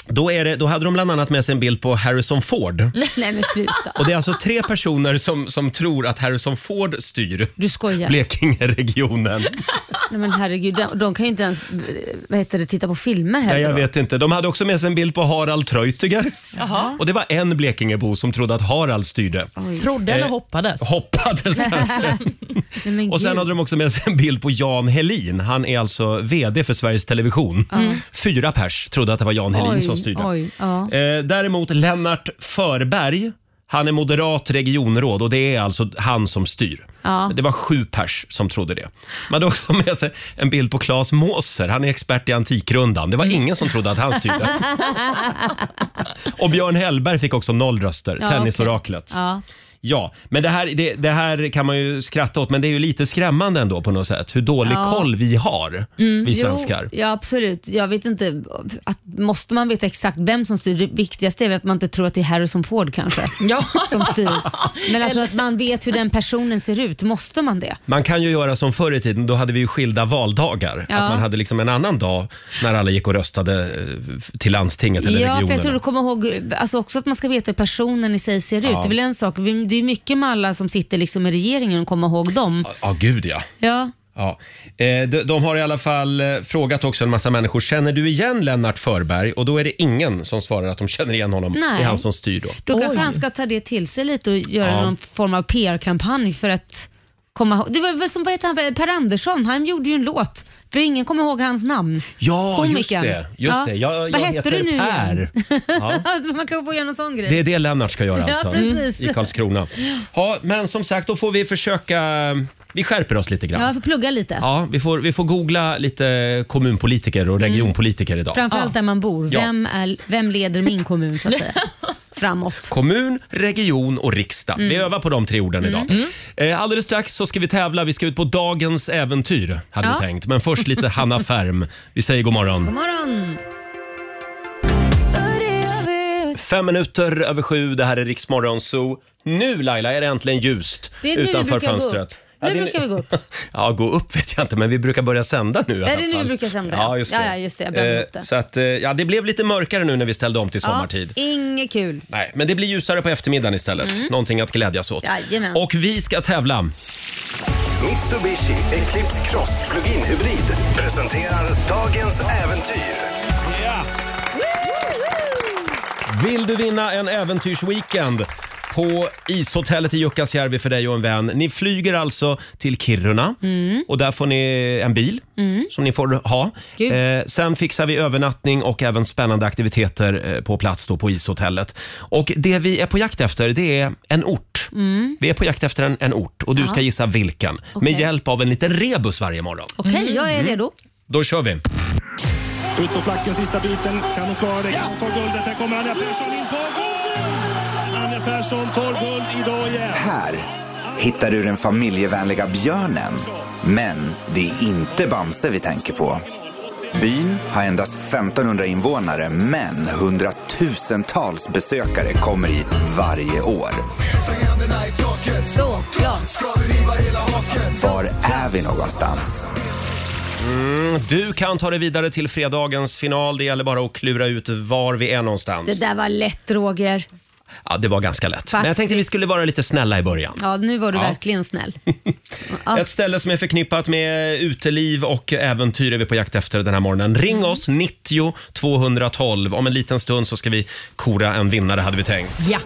S1: Då, är det, då hade de bland annat med sig en bild på Harrison Ford.
S2: Nej men sluta.
S1: Och Det är alltså tre personer som, som tror att Harrison Ford styr
S2: Du skojar.
S1: Blekinge-regionen.
S2: Nej, men herregud, de, de kan ju inte ens eh, vad heter det, titta på filmer
S1: Nej,
S2: heller.
S1: jag
S2: då.
S1: vet inte. De hade också med sig en bild på Harald Treutiger. Och det var en Blekingebo som trodde att Harald styrde.
S3: Trodde eller hoppades?
S1: Hoppades kanske.
S2: Nej, men
S1: Och sen
S2: gud.
S1: hade de också med sig en bild på Jan Helin. Han är alltså VD för Sveriges Television. Fyra pers trodde att det var Jan Helin
S2: Mm. Oj,
S1: som styrde.
S2: oj, ja.
S1: Eh, däremot Lennart Förberg, han är moderat regionråd och det är alltså han som styr.
S2: Ja.
S1: Det var sju pers som trodde det. Man hade också med sig en bild på Claes Måser, han är expert i Antikrundan. Det var ingen som trodde att han styrde. och Björn Hellberg fick också noll röster,
S2: Ja,
S1: tennisoraklet.
S2: Ja.
S1: Ja, men det här, det, det här kan man ju skratta åt, men det är ju lite skrämmande ändå på något sätt hur dålig
S2: Ja. Mm.
S1: koll vi har, vi
S2: Jo,
S1: svenskar.
S2: ja absolut. Jag vet inte, att, måste man veta exakt vem som styr? Det viktigaste är väl att man inte tror att det är Harrison Ford kanske.
S3: Ja.
S2: Som styr. Men alltså att man vet hur den personen ser ut, måste man det?
S1: Man kan ju göra som förr i tiden, då hade vi ju skilda valdagar.
S2: Ja.
S1: Att man hade liksom en annan dag när alla gick och röstade eh, till landstinget eller
S2: Ja, för jag tror
S1: regionerna.
S2: du kommer ihåg alltså också att man ska veta hur personen i sig ser ut.
S1: Ja.
S2: Det är väl en sak. Vi- Det är mycket med alla som sitter liksom i regeringen och kommer ihåg dem.
S1: Ja, gud ja.
S2: Ja.
S1: ja. Eh, de, de har i alla fall eh, frågat också en massa människor, känner du igen Lennart Förberg? Och då är det ingen som svarar att de känner igen honom.
S2: Nej.
S1: Det är han som styr då.
S2: Då kanske han ska ta det till sig lite och göra
S1: Ja.
S2: någon form av PR-kampanj för att komma ihåg. Det var väl som vad heter han? Per Andersson, han gjorde ju en låt för ingen kommer ihåg hans namn.
S1: Ja, just
S2: Komikern.
S1: det. Just
S2: Ja.
S1: det. Jag,
S2: Vad
S1: jag
S2: hette du nu
S1: Per.
S2: igen?
S1: Ja.
S2: Man kan få göra någon sån grej.
S1: Det är det Lennart ska göra
S2: Ja,
S1: alltså,
S2: precis.
S1: i Karlskrona. Ja, men som sagt, då får vi försöka... Vi skärper oss lite grann.
S2: Ja,
S1: Ja.
S2: jag får plugga lite.
S1: vi, får, vi får googla lite kommunpolitiker
S2: Mm.
S1: och regionpolitiker idag.
S2: Framförallt där man bor.
S1: Ja.
S2: Vem, är, vem leder min kommun så att säga? Framåt.
S1: Kommun, region och riksdag. Vi
S2: Mm.
S1: övar på de tre orden idag. Eh, alldeles strax så ska vi tävla. Vi ska ut på dagens äventyr, hade
S2: Ja.
S1: vi tänkt. Men först lite Hanna Färm. Vi säger god morgon.
S2: God morgon!
S1: Fem minuter över sju, det här är Riksmorgon Zoo. Nu Laila är det äntligen ljust
S2: Det är nu vi
S1: utanför
S2: brukar gå
S1: fönstret.
S2: upp. Nu brukar vi gå upp.
S1: ja, gå upp vet jag inte, men vi brukar börja sända nu i alla
S2: det är nu
S1: fall.
S2: vi brukar sända,
S1: Ja,
S2: ja.
S1: just det.
S2: Ja, ja, just det, jag blandade
S1: Eh,
S2: ihop det.
S1: Så att, eh, ja, det blev lite mörkare nu när vi ställde om till sommartid.
S2: Ja, inget kul.
S1: Nej, men det blir ljusare på eftermiddagen istället. Någonting att glädjas åt.
S2: Mm. Jajamän.
S1: Och vi ska tävla.
S10: Mitsubishi Eclipse Cross Plug-in Hybrid presenterar dagens äventyr.
S1: Vill du vinna en äventyrsweekend på ishotellet i Jukkasjärvi för dig och en vän. Ni flyger alltså till Kiruna
S2: Mm.
S1: och där får ni en bil som ni får ha.
S2: Kul.
S1: Eh, sen fixar vi övernattning och även spännande aktiviteter eh, på plats då på ishotellet. Och det vi är på jakt efter det är en ort.
S2: Mm.
S1: Vi är på jakt efter en, en ort och du ska gissa vilken med hjälp av en liten rebus varje morgon.
S2: Okej, jag
S1: Mm.
S2: är redo.
S1: Då kör vi!
S8: Ut på flacken, sista biten. Kan hon klara det? Kan hon ta guldet? Här kommer Anja Persson in på guld! Anja Persson tar guld idag igen.
S10: Här hittar du den familjevänliga björnen. Men det är inte Bamse vi tänker på. Byn har endast 1500 invånare, men hundratusentals besökare kommer hit varje år. Var är vi någonstans?
S1: Du kan ta dig vidare till fredagens final. Det gäller bara att klura ut var vi är någonstans.
S2: Det där var lätt Roger.
S1: Ja, det var ganska lätt. Men jag tänkte vi skulle vara lite snälla i början.
S2: Ja, nu var du
S1: Ja.
S2: verkligen snäll. Ja.
S1: Ett ställe som är förknippat med uteliv och äventyr är vi på jakt efter den här morgonen. Ring oss,
S2: Mm.
S1: 90 212. Om en liten stund så ska vi kora en vinnare hade vi tänkt.
S3: Ja.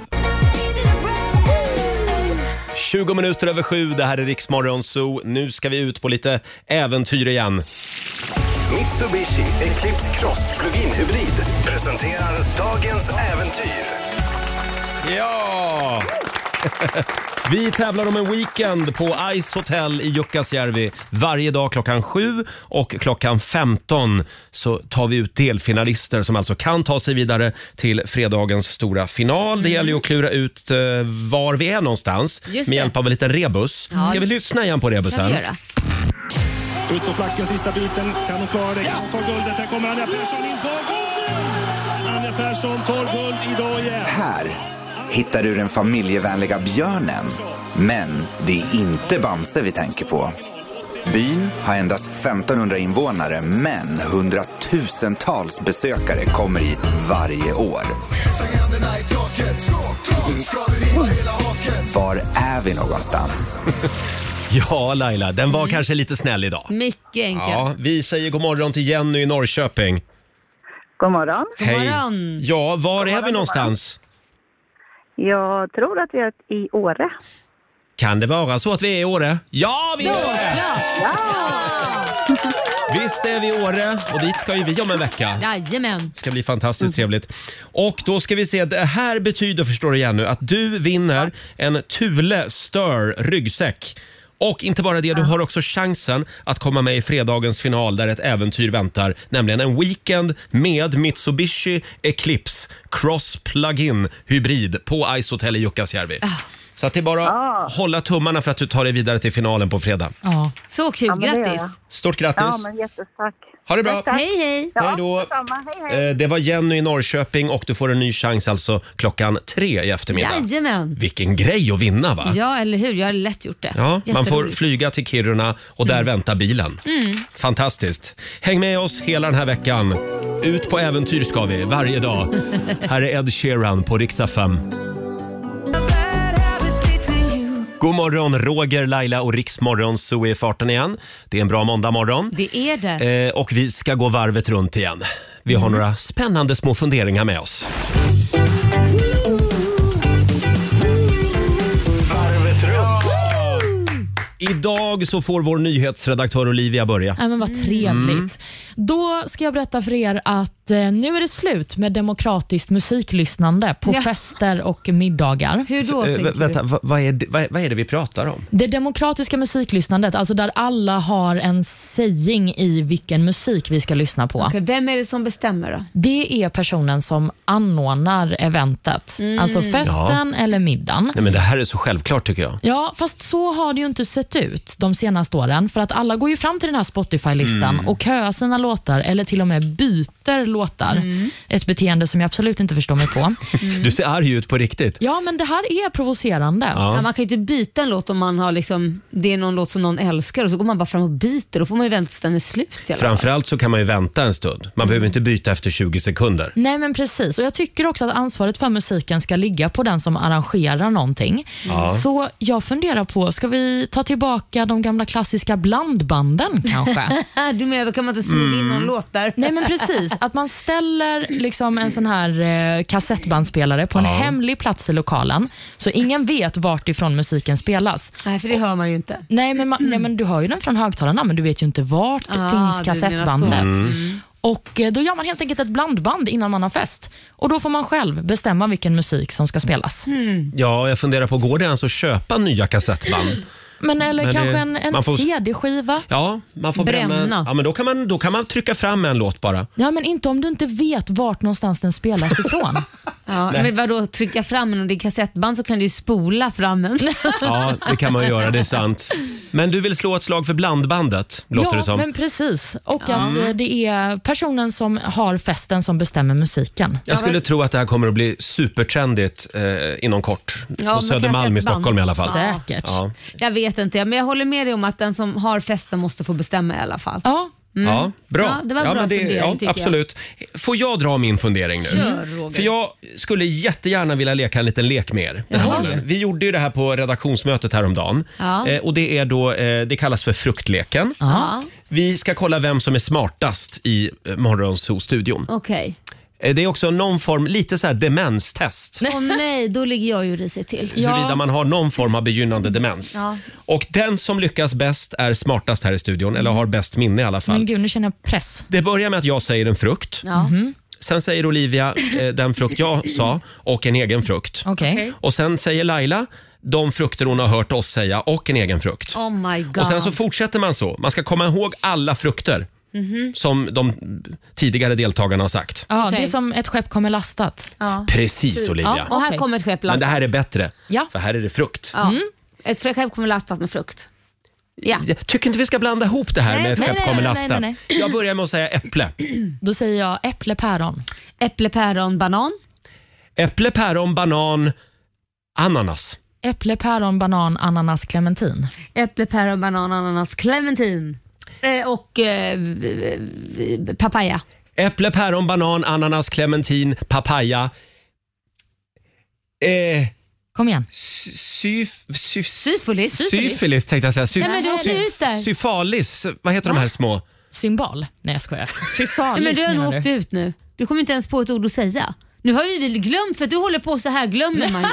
S1: 20 minuter över sju, det här är Riksmorgon Zoo. Nu ska vi ut på lite äventyr igen.
S10: Mitsubishi Eclipse Cross Plug-in Hybrid presenterar dagens äventyr.
S1: Ja! Vi tävlar om en weekend på Ice Hotel i Jukkasjärvi varje dag klockan 7 och klockan 15 så tar vi ut delfinalister som alltså kan ta sig vidare till fredagens stora final. Det gäller ju att klura ut eh, var vi är någonstans
S2: Just
S1: med
S2: det.
S1: hjälp av en liten rebus. Ska vi lyssna igen på
S2: kan
S1: rebusen?
S2: vi göra.
S8: Ut på flacken, sista biten. Kan hon klara det? Kan hon ta guldet? Här kommer Anja Persson in på guld! Anja Persson tar guld idag igen.
S10: Här hittar du den familjevänliga björnen. Men det är inte Bamse vi tänker på. Byn har endast 1500 invånare, men hundratusentals besökare kommer hit varje år. Var är vi någonstans?
S1: Ja, Laila, den var kanske lite snäll idag.
S2: Mm. Mycket enkelt.
S1: Ja, vi säger god morgon till Jenny i Norrköping.
S9: God morgon.
S2: God morgon.
S1: Ja, var är vi någonstans?
S9: Jag tror att vi är i Åre.
S1: Kan det vara så att vi är i Åre? Ja, vi är i Åre! Visst är vi i Åre och dit ska ju vi om en vecka.
S2: Jajamän.
S1: Det ska bli fantastiskt
S9: Mm.
S1: trevligt. Och då ska vi se, det här betyder, förstår du Jenny, att du vinner en Thule Stör ryggsäck. Och inte bara det, du har också chansen att komma med i fredagens final där ett äventyr väntar. Nämligen en weekend med Mitsubishi Eclipse Cross Plug-in Hybrid på Ice Hotel i Jukkasjärvi.
S9: Ah.
S1: Så att det är bara att hålla tummarna för att du tar dig vidare till finalen på fredag.
S2: Ja. Så kul,
S9: Ja, men det gör
S2: grattis.
S9: jag.
S1: Stort grattis!
S9: Ja, men jättetack.
S1: Ha det bra.
S9: Tack, tack.
S2: Hej hej.
S9: Ja,
S1: Hej då.
S9: detsamma. Hej, hej.
S1: Eh, Det var Jenny i Norrköping och du får en ny chans alltså klockan tre i eftermiddag.
S2: Jajamän.
S1: Vilken grej att vinna va?
S2: Ja, eller hur? Jag har lätt gjort det.
S1: Ja, man får
S2: Jätteroligt. Mm.
S1: flyga till Kiruna och där väntar bilen. Fantastiskt. Häng med oss hela den här veckan. Ut på äventyr ska vi, varje dag. här är Ed Sheeran på Riksa 5. God morgon, Roger, Laila och Riksmorgon så är farten igen. Det är en bra måndagmorgon.
S2: Det är det.
S1: Eh, och vi ska gå varvet runt igen. Vi har några spännande små funderingar med oss. Idag så får vår nyhetsredaktör Olivia börja.
S3: Ja, men vad
S2: Mm.
S3: trevligt. Då ska jag berätta för er att eh, nu är det slut med demokratiskt musiklyssnande på
S2: Ja.
S3: fester och middagar.
S2: Hur då?
S1: Eh,
S2: tänker
S1: vä-
S2: du?
S1: vänta, va- vad är, det, vad, vad är det vi pratar om?
S3: Det demokratiska musiklyssnandet, alltså där alla har en saying i vilken musik vi ska lyssna på.
S2: Okej, Vem är det som bestämmer då?
S3: Det är personen som anordnar eventet,
S2: Mm.
S3: alltså festen eller middagen.
S1: Nej, men det här är så självklart tycker jag.
S3: Ja, fast så har det ju inte sett ut de senaste åren. För att alla går ju fram till den här Spotify-listan och köar sina låtar eller till och med byter låtar. Ett beteende som jag absolut inte förstår mig på.
S1: Du ser arg ut på riktigt.
S3: Ja, men det här är provocerande.
S1: Ja.
S2: Ja, man kan ju inte byta en låt om man har liksom, det är någon låt som någon älskar och så går man bara fram och byter. Då får man ju vänta tills den är slut. i alla fall.
S1: Framförallt så kan man ju vänta en stund. Man behöver inte byta efter 20 sekunder.
S3: Nej men precis och jag tycker också att ansvaret för musiken ska ligga på den som arrangerar någonting. Så jag funderar på, ska vi ta tillbaka de gamla klassiska blandbanden kanske?
S2: Äh, Du menar, då kan man inte smyga in
S1: Mm.
S2: någon låt där?
S3: Nej men precis, att man ställer liksom en sån här eh, kassettbandspelare på en hemlig plats i lokalen så ingen vet vart ifrån musiken spelas.
S2: Nej, för det hör man ju inte.
S3: Nej men, man, nej, men du hör ju den från högtalarna men du vet ju inte vart
S2: Ah,
S3: finns
S2: du menar så.
S3: kassettbandet.
S1: Mm.
S3: Och eh, Då gör man helt enkelt ett blandband innan man har fest. Och Då får man själv bestämma vilken musik som ska spelas.
S2: Mm.
S1: Ja, jag funderar på, går det ens att köpa nya kassettband?
S3: Men Eller
S1: Men det-
S3: kanske en, en
S1: man får-
S3: CD-skiva.
S1: Ja, man får bränna.
S2: Bränna.
S1: Ja, men då kan, man, då kan man trycka fram en låt bara.
S3: Ja, men inte om du inte vet vart någonstans den spelas ifrån.
S2: Ja, men vadå, trycka fram en och det är kassettband så kan du ju spola fram en.
S1: Ja, det kan man göra. Det är sant. Men du vill slå ett slag för blandbandet, låter
S3: ja,
S1: det som.
S3: men precis. Och att eh, det är personen som har festen som bestämmer musiken.
S1: Jag skulle tro att det här kommer att bli supertrendigt eh, inom kort.
S2: Ja,
S1: På
S2: men
S1: Södermalm i
S2: kassettband.
S1: Stockholm i alla fall.
S2: Ja.
S3: Säkert. Ja.
S1: Ja.
S2: Jag vet inte, men jag håller med dig om att den som har festen måste få bestämma i alla fall.
S1: Ja, bra.
S2: Mm. Ja, det var en bra
S1: men
S2: fundering, tycker jag.
S1: Absolut. Får jag dra min fundering nu? Mm.
S2: Kör, Roger.
S1: För jag skulle jättegärna vilja leka en liten lek med er. den här
S3: Jaha.
S1: morgonen. Vi gjorde ju det här på redaktionsmötet häromdagen.
S2: Ja.
S1: Eh, och det, är då, eh, det kallas för fruktleken.
S2: Ja.
S1: Vi ska kolla vem som är smartast i eh, Morgonzoo-studion.
S2: Okej.
S1: Eh, Det är också någon form, lite så här demenstest.
S2: Åh nej, då ligger jag ju risigt till.
S1: Huruvida man har någon form av begynnande demens.
S2: Ja.
S1: Och den som lyckas bäst är smartast här i studion, eller har bäst minne i alla fall.
S3: Men gud, nu känner jag press.
S1: Det börjar med att jag säger en frukt.
S2: Ja. Mm-hmm.
S1: Sen säger Olivia eh, den frukt jag sa och en egen frukt.
S3: Okej.
S1: Och sen säger Laila de frukter hon har hört oss säga och en egen frukt.
S2: Oh my god.
S1: Och sen så fortsätter man så. Man ska komma ihåg alla frukter
S2: Mm-hmm.
S1: som de tidigare deltagarna har sagt.
S3: Ja,
S2: Okej.
S3: Det är som ett skepp kommer lastat.
S2: ja.
S1: Precis Olivia.
S2: Och här
S3: Okej.
S2: kommer ett skepp
S1: Men
S2: lastat.
S1: det här är bättre,
S3: Ja.
S1: för här är det frukt.
S2: Ja. Ett skepp kommer lastat med frukt. Ja.
S1: Jag tycker inte vi ska blanda ihop det här
S2: Nej,
S1: med ett
S2: nej,
S1: skepp
S2: nej,
S1: kommer
S3: nej,
S1: lastat.
S3: nej, nej.
S1: Jag börjar med att säga äpple.
S3: Då säger jag äpple, päron.
S2: Äpple, päron, banan.
S1: Äpple, päron, banan, ananas.
S3: Äpple, päron, banan, ananas, clementin.
S2: Äpple, päron, banan, ananas, clementin. Eh, och eh, v- v- papaya.
S1: Äpple, päron, banan, ananas, clementin, papaya. Eh,
S3: Kom igen.
S1: syf, syf,
S2: Syfilis.
S1: syfilis tänkte jag säga. Syf,
S2: Nej, men du åker ju ut där. Ah.
S1: syfalis. Vad heter de här små?
S3: Symbol? Nej, jag skojar. Fysalis
S2: Nej, men du har nog
S3: menar
S2: åkt ut nu. Du kommer inte ens på ett ord att säga. Nu har ju vi glömt, för att du håller på så här glömmer man ju.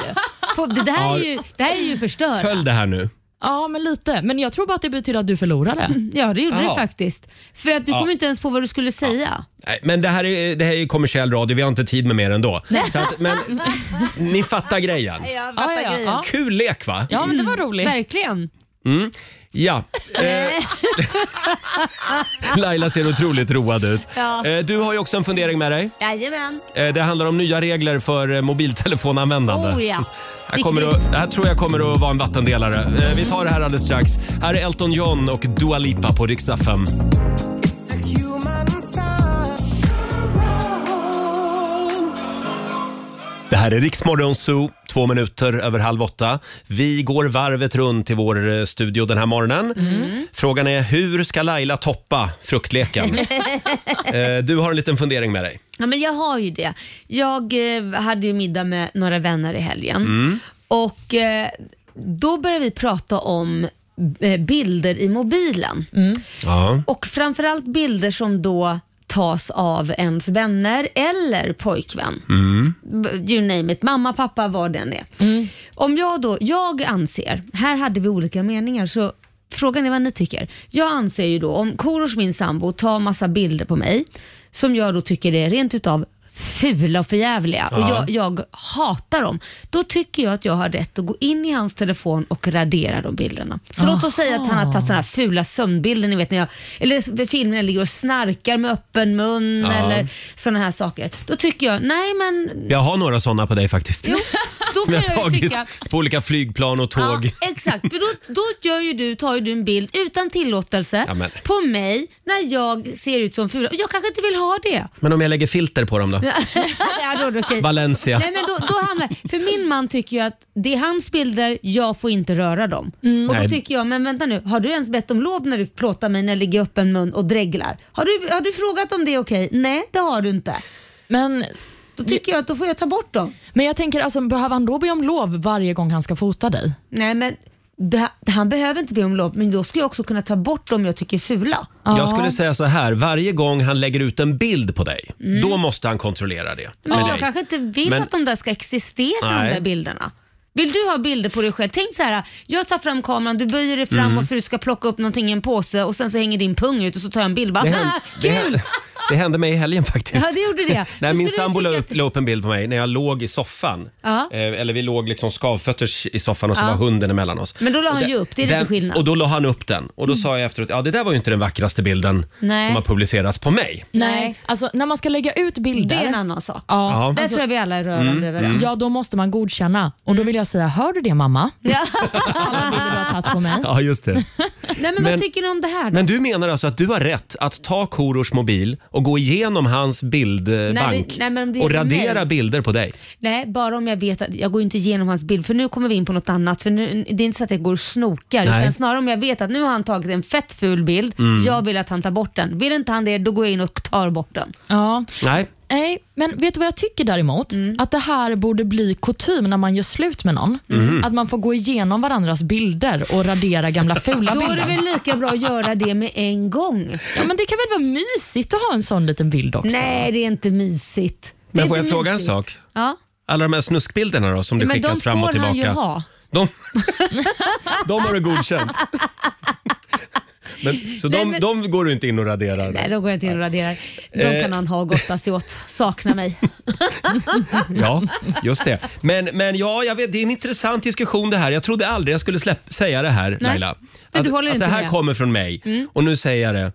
S2: Få- Det här, är
S1: Ja.
S2: ju, det här är ju förstört.
S1: Föll det här nu?
S3: Ja, men lite. Men jag tror bara att det betyder att du förlorade.
S2: Ja, det gjorde
S1: Ja.
S2: det faktiskt. För att du
S1: Ja.
S2: kom inte ens på vad du skulle säga.
S1: Nej, men det här är, det här är kommersiell radio, vi har inte tid med mer ändå. Så att, men ni fattar grejen.
S2: Jag
S3: fattar Ja, ja, ja. grejen. Ja.
S1: Kul lek va?
S3: Ja, men det var roligt.
S2: Verkligen.
S1: Mm. Ja, eh, Laila ser otroligt road ut.
S2: Ja.
S1: Eh, du har ju också en fundering med dig.
S2: Jajamän.
S1: Eh, det handlar om nya regler för eh, mobiltelefonanvändande.
S2: Oh ja.
S1: Här, kommer att, här tror jag kommer att vara en vattendelare. Eh, vi tar det här alldeles strax. Här är Elton John och Dua Lipa på Rix FM. Det här är Riksmorgon Zoo, två minuter över halv åtta. Vi går varvet runt i vår eh, studio den här morgonen. Frågan är hur ska Laila toppa fruktleken? eh, du har en liten fundering med dig.
S2: Ja, men jag har ju det. Jag eh, hade ju middag med några vänner i helgen
S1: Mm.
S2: och eh, då började vi prata om eh, bilder i mobilen.
S1: Mm. Ja.
S2: Och framförallt bilder som då tas av ens vänner eller pojkvän.
S1: Mm.
S2: B- You name it, mamma, pappa, vad den är. Om jag då, jag anser, här hade vi olika meningar så frågan är vad ni tycker. Jag anser ju då om Korosh, min sambo, tar massa bilder på mig som jag då tycker är rent utav fula och förjävliga och
S11: Ja.
S2: jag, jag hatar dem. Då tycker jag att jag har rätt att gå in i hans telefon och radera de bilderna. Så låt oss säga att han har tagit sådana här fula sömnbilder, ni vet när jag, eller filmen när jag ligger och snarkar med öppen mun
S1: Ja.
S2: eller sådana här saker. Då tycker jag, nej men
S1: Mm. Jag har några sådana på dig faktiskt.
S2: Jo, då
S1: Som
S2: kan
S1: jag
S2: jag, ju
S1: tagit
S2: tycka...
S1: på olika flygplan och tåg.
S2: Ja, exakt, för då, då gör ju du, tar ju du en bild utan tillåtelse
S1: Ja, men-
S2: på mig när jag ser ut som fula. Och Jag kanske inte vill ha det.
S1: Men om jag lägger filter på dem då?
S2: ja, då, är det okej.
S1: Valencia.
S2: Nej, men då, då hamnar, för min man tycker ju att det är hans bilder, jag får inte röra dem.
S3: Mm.
S2: Och då
S1: Nej.
S2: tycker jag, men vänta nu, har du ens bett om lov när du plåtar mig när jag ligger i öppen mun och dreglar? Har du, har du frågat om det är okej? Nej, det har du inte.
S3: Men
S2: då tycker jag att då får jag ta bort dem.
S3: Men jag tänker, alltså, behöver han då be om lov varje gång han ska fota dig?
S2: Nej, men det, han behöver inte be om lov, men då ska jag också kunna ta bort dem jag tycker är fula.
S1: Jag skulle säga så här, varje gång han lägger ut en bild på dig,
S2: Mm.
S1: då måste han kontrollera det med
S2: Men jag
S1: dig.
S2: kanske inte vill
S1: Men-
S2: att de där ska existera,
S1: Nej.
S2: de där bilderna. Vill du ha bilder på dig själv? Tänk så här, jag tar fram kameran, du böjer dig framåt
S1: Mm.
S2: för du ska plocka upp någonting i en påse och sen så hänger din pung ut och så tar jag en bild. Bara,
S1: Det hände,
S2: "Ah,
S1: det,
S2: kul!
S1: hände, det hände mig i helgen faktiskt.
S2: Ja, det gjorde det.
S1: Nej,
S2: Då
S1: min
S2: skulle du
S1: sambo la
S2: tycka
S1: upp, la upp en bild på mig när jag låg i soffan.
S2: Ja.
S1: Eh, eller vi låg liksom skavfötters i soffan och så
S2: Ja.
S1: var hunden emellan oss.
S2: Men då la
S1: Och
S2: han ju upp, det är lite
S1: den,
S2: skillnad. Mm.
S1: Och då la han upp den och då sa jag efteråt, ja det där var ju inte den vackraste bilden
S3: Nej.
S1: som har publicerats på mig.
S3: Nej. Alltså, när man ska lägga ut bilder.
S2: Det är en annan sak.
S3: Ja,
S1: Ja. Där tror
S2: jag vi alla är
S1: rörande Alltså- Mm, överens. mm.
S3: Ja, då måste man godkänna. Och då vill jag säga, hör du det mamma?
S2: Mm. Ja.
S3: Alla bilder du har tagit på mig.
S1: Ja, just det.
S2: Nej, men,
S1: Men-
S2: vad tycker ni om det här då?
S1: Men du menar alltså att du har rätt att ta Korosh mobil och gå igenom hans
S2: Nej,
S1: bildbank
S2: det- nej, men om det
S1: och
S2: gäller mig.
S1: radera bilder på dig?
S2: Nej, bara om jag vet att jag går inte igenom hans bild för nu kommer vi in på något annat. För nu, Det är inte så att jag går och snokar
S1: Nej.
S2: utan snarare om jag vet att nu har han tagit en fett ful bild.
S1: Mm.
S2: Jag vill att han tar bort den. Vill inte han det då går jag in och tar bort den.
S3: Ja.
S1: Nej.
S3: Nej, men vet du vad jag tycker däremot? Att det här borde bli kutym när man gör slut med någon.
S2: Mm.
S3: Att man får gå igenom varandras bilder och radera gamla fula
S2: Då är
S3: bilder.
S2: det väl lika bra att göra det med en gång.
S3: Ja, men det kan väl vara mysigt att ha en sån liten bild också?
S2: Nej, det är inte mysigt. Det är
S1: Men får jag
S2: inte
S1: fråga en
S2: mysigt.
S1: sak?
S2: Ja.
S1: Alla de här snuskbilderna då som det
S2: Men de
S1: skickas fram och
S2: får
S1: tillbaka.
S2: han ju ha.
S1: De, de har du godkänt. Men, så
S2: Nej,
S1: de,
S2: men-
S1: de går du inte in och raderar?
S2: Nej, då går jag inte in och raderar. De
S1: Eh.
S2: kan han ha och gotta sig åt. Sakna mig.
S1: Ja, just det. Men, men ja, jag vet, det är en intressant diskussion det här. Jag trodde aldrig jag skulle släpp, säga det här, Laila.
S2: men
S1: Att,
S2: du håller
S1: att det
S2: inte
S1: här
S2: med.
S1: kommer från mig
S2: Mm.
S1: och nu säger jag det.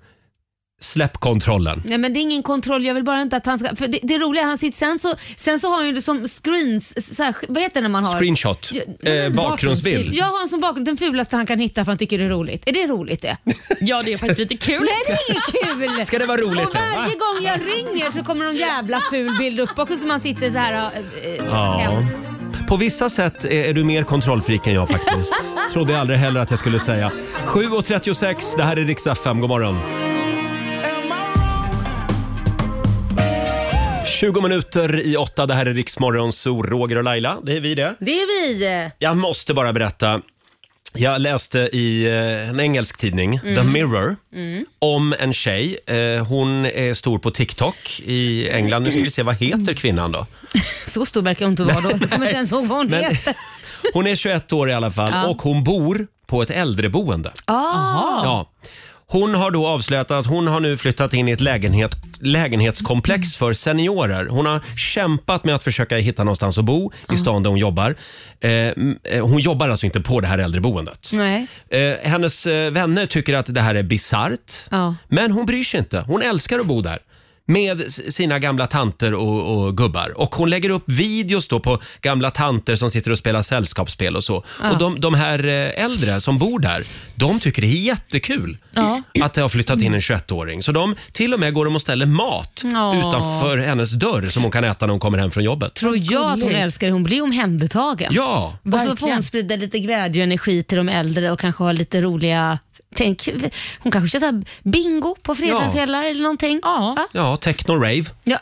S1: Släpp kontrollen.
S2: Nej men det är ingen kontroll, jag vill bara inte att han ska... För det, det roliga är han sitter sen så, sen så har han ju det som screens... Så här, vad heter det när man har?
S1: Screenshot.
S2: Ja,
S1: Eh, bakgrundsbild.
S2: Jag har en som bakgrund, den fulaste han kan hitta för han tycker det är roligt. Är det roligt det?
S3: Ja, det är faktiskt lite kul.
S2: Nej det är inget kul!
S1: Ska det vara roligt
S2: Och
S1: då, va?
S2: varje gång jag ringer så kommer någon jävla ful bild upp också som man sitter så här äh,
S1: Ja.
S2: hemskt.
S1: På vissa sätt är, är du mer kontrollfrik än jag faktiskt. Trodde jag aldrig heller att jag skulle säga. 7.36, det här är Rix FM. God morgon. 20 minuter i åtta, det här är Riksmorgon, så Roger och Laila, det är vi det.
S2: Det är vi.
S1: Jag måste bara berätta Jag läste i eh, en engelsk tidning,
S2: Mm.
S1: The Mirror,
S2: Mm.
S1: om en tjej. Eh, Hon är stor på TikTok i England. Nu ska vi se, vad heter kvinnan då?
S2: Så stor verkar hon inte vara då. Jag kommer inte ens ihåg vad hon
S1: Men-
S2: heter.
S1: Hon är 21 år i alla fall
S2: Ja.
S1: och hon bor på ett äldreboende.
S2: Ah.
S1: Ja. Hon har då avslöjat att hon har nu flyttat in i ett lägenhet,
S2: Mm.
S1: lägenhetskomplex för seniorer. Hon har kämpat med att försöka hitta någonstans att bo i stan där hon jobbar. Eh, m- eh, hon jobbar alltså inte på det här äldreboendet.
S2: Nej.
S1: Eh, hennes eh, vänner tycker att det här är bisarrt.
S2: Ja.
S1: Men hon bryr sig inte. Hon älskar att bo där. Med s- sina gamla tanter och, och gubbar. Och hon lägger upp videos då på gamla tanter som sitter och spelar sällskapsspel och så.
S3: Ja.
S1: Och de, de här eh, äldre som bor där, de tycker det är jättekul
S3: Ja.
S1: att det har flyttat in en 21-åring. Så de till och med går och ställer mat
S2: Ja.
S1: utanför hennes dörr som hon kan äta när hon kommer hem från jobbet.
S2: Tror jag att hon älskar det. Hon blir omhändertagen.
S1: Ja.
S2: Och så får hon sprida lite glädje och energi till de äldre och kanske ha lite roliga... Tänk, hon kanske kör så här bingo på fredagskvällar eller någonting. Ja.
S1: Ja, techno-rave.
S2: Ja.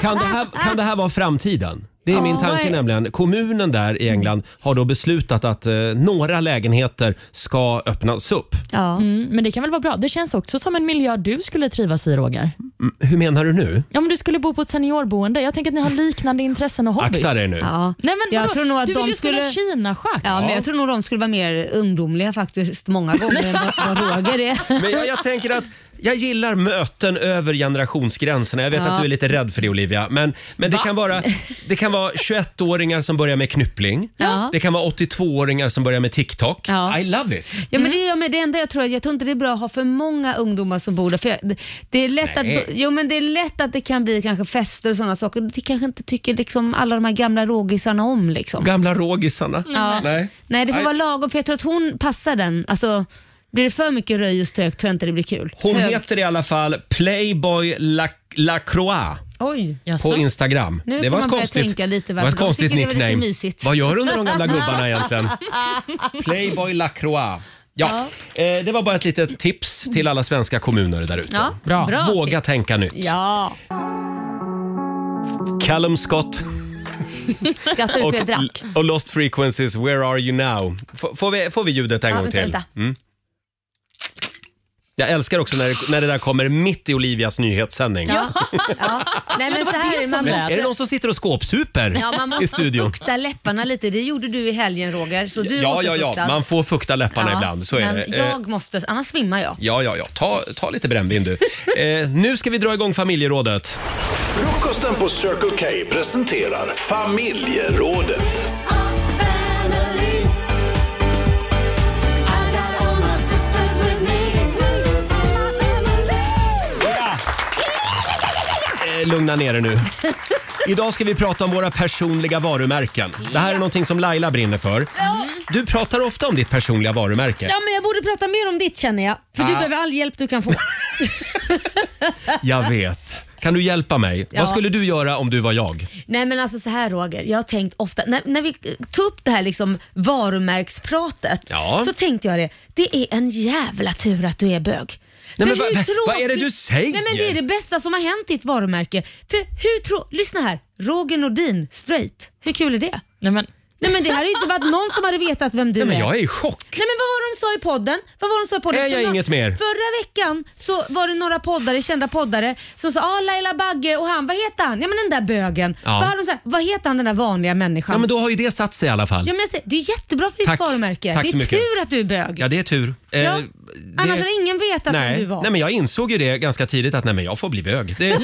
S1: Kan, det här, kan det här vara framtiden? Det är
S2: Ja,
S1: min
S2: vad
S1: tanke
S2: är-
S1: nämligen. Kommunen där i England har då beslutat att eh, några lägenheter ska öppnas upp.
S2: Ja.
S3: Mm, men det kan väl vara bra. Det känns också som en miljö du skulle trivas i, Roger.
S1: M- Hur menar du nu?
S3: Ja, men du skulle bo på ett seniorboende. Jag tänker att ni har liknande intressen och hobbys.
S1: Akta dig nu.
S2: Ja.
S3: Nej, men
S2: Jag
S3: vadå?
S2: tror nog att
S3: du vill
S2: de
S3: ju spela
S2: skulle-
S3: Kina-schack.
S2: Ja, men jag tror nog de skulle vara mer ungdomliga faktiskt många gånger än vad- vad Roger är.
S1: Men jag, jag tänker att jag gillar möten över generationsgränserna. Jag vet
S2: Ja.
S1: att du är lite rädd för det Olivia. Men, men det,
S2: Va?
S1: kan vara, det kan vara 21-åringar som börjar med knyppling.
S2: Ja.
S1: Det kan vara 82-åringar som börjar med TikTok.
S2: Ja.
S1: I love it!
S2: Ja, men det, ja, men det enda jag tror, jag tror inte det är bra att ha för många ungdomar som bor där. För jag, det, det, är lätt att,
S1: Nej.
S2: jo, men det är lätt att det kan bli kanske fester och sådana saker. Det kanske inte tycker liksom alla de här gamla rågisarna om. Liksom.
S1: Gamla rågisarna.
S2: Ja.
S1: Nej.
S2: Nej, det får
S1: Nej.
S2: vara lagom för jag tror att hon passar den. Alltså, blir det för mycket röj och stök tror jag inte det blir kul.
S1: Hon
S2: Hög-
S1: heter i alla fall Playboy La- Lacroix.
S2: Oj.
S1: på Instagram.
S2: Nu
S1: det
S2: kan
S1: var
S2: man
S1: ett
S2: börja
S1: konstigt,
S2: tänka
S1: det
S2: lite
S1: var
S2: varför
S1: ett
S2: de
S1: konstigt
S2: tycker det var lite
S1: nickname.
S2: mysigt.
S1: Vad gör under de gamla gubbarna egentligen? Playboy Lacroix. Ja, Eh, det var bara ett litet tips till alla svenska kommuner där ute.
S2: Ja, bra. Bra
S1: Våga
S2: tips.
S1: tänka nytt.
S2: Ja.
S1: Callum Scott
S2: Skrattar du
S1: och,
S2: för jag drack?
S1: och Lost Frequencies, Where Are You Now? F får, vi, får vi ljudet en
S2: Ja,
S1: gång
S2: vänta,
S1: till?
S2: vänta.
S1: Mm. Jag älskar också när det, när det där kommer mitt i Olivias nyhetssändning.
S2: Ja. ja. Nej, men så här är det, man
S1: Men, är det
S2: måste-
S1: någon som sitter och skåpsuper
S2: Ja, man
S1: i
S2: måste
S1: studion?
S2: fukta läpparna lite. Det gjorde du i helgen Roger. Så du
S1: Ja,
S2: åt
S1: ja, ja.
S2: fuktad.
S1: Man får fukta läpparna
S2: Ja,
S1: ibland. Så är
S2: men
S1: det. Eh,
S2: Jag måste, annars svimmar jag.
S1: Ja, ja, ja. Ta, ta lite brännvin du. eh, nu ska vi dra igång familjerådet.
S11: Frukosten på Circle K presenterar Familjerådet.
S1: Eh, lugna ner er nu. Idag ska vi prata om våra personliga varumärken. Det här är någonting som Laila brinner för. Du pratar ofta om ditt personliga varumärke.
S2: Ja, men jag borde prata mer om ditt känner jag. För du
S1: Ah.
S2: behöver all hjälp du kan få.
S1: Jag vet. Kan du hjälpa mig?
S2: Ja.
S1: Vad skulle du göra om du var jag?
S2: Nej men alltså så här Roger, jag har tänkt ofta, när, när vi tog upp det här liksom varumärkspratet
S1: Ja.
S2: så tänkte jag det, det är en jävla tur att du är bög.
S1: Nej, men
S2: För
S1: vad-
S2: hur
S1: vad- vad är det
S2: tråkigt-
S1: du säger?
S2: Nej, men det är det bästa som har hänt ditt varumärke. För hur tro, lyssna här, Roger Nordin, straight. Hur kul är det?
S3: Nej, men...
S2: Nej men det här har ju inte varit någon som hade vetat vem du
S1: Nej, men
S2: är.
S1: jag är i chock.
S2: Nej men vad var det de sa i podden? Vad var de sa i podden?
S1: Är jag
S2: För-
S1: inget mer?
S2: Förra veckan så var det några poddare, kända poddare som sa ah, Laila Bagge och han, vad heter han? Ja men den där bögen.
S1: Ja.
S2: Vad, har de sagt? vad heter han den där vanliga människan?
S1: Ja, men då har ju det satt sig i alla fall.
S2: Ja, men jag säger, det är jättebra för ditt
S1: Tack.
S2: varumärke.
S1: Tack
S2: det är
S1: så mycket.
S2: tur att du är bög.
S1: Ja, det är tur. Eh,
S2: Ja,
S1: det-
S2: Annars hade ingen vetat vem du
S1: Nej.
S2: var.
S1: nej, men jag insåg ju det ganska tidigt att nej, men jag får bli bög. Det,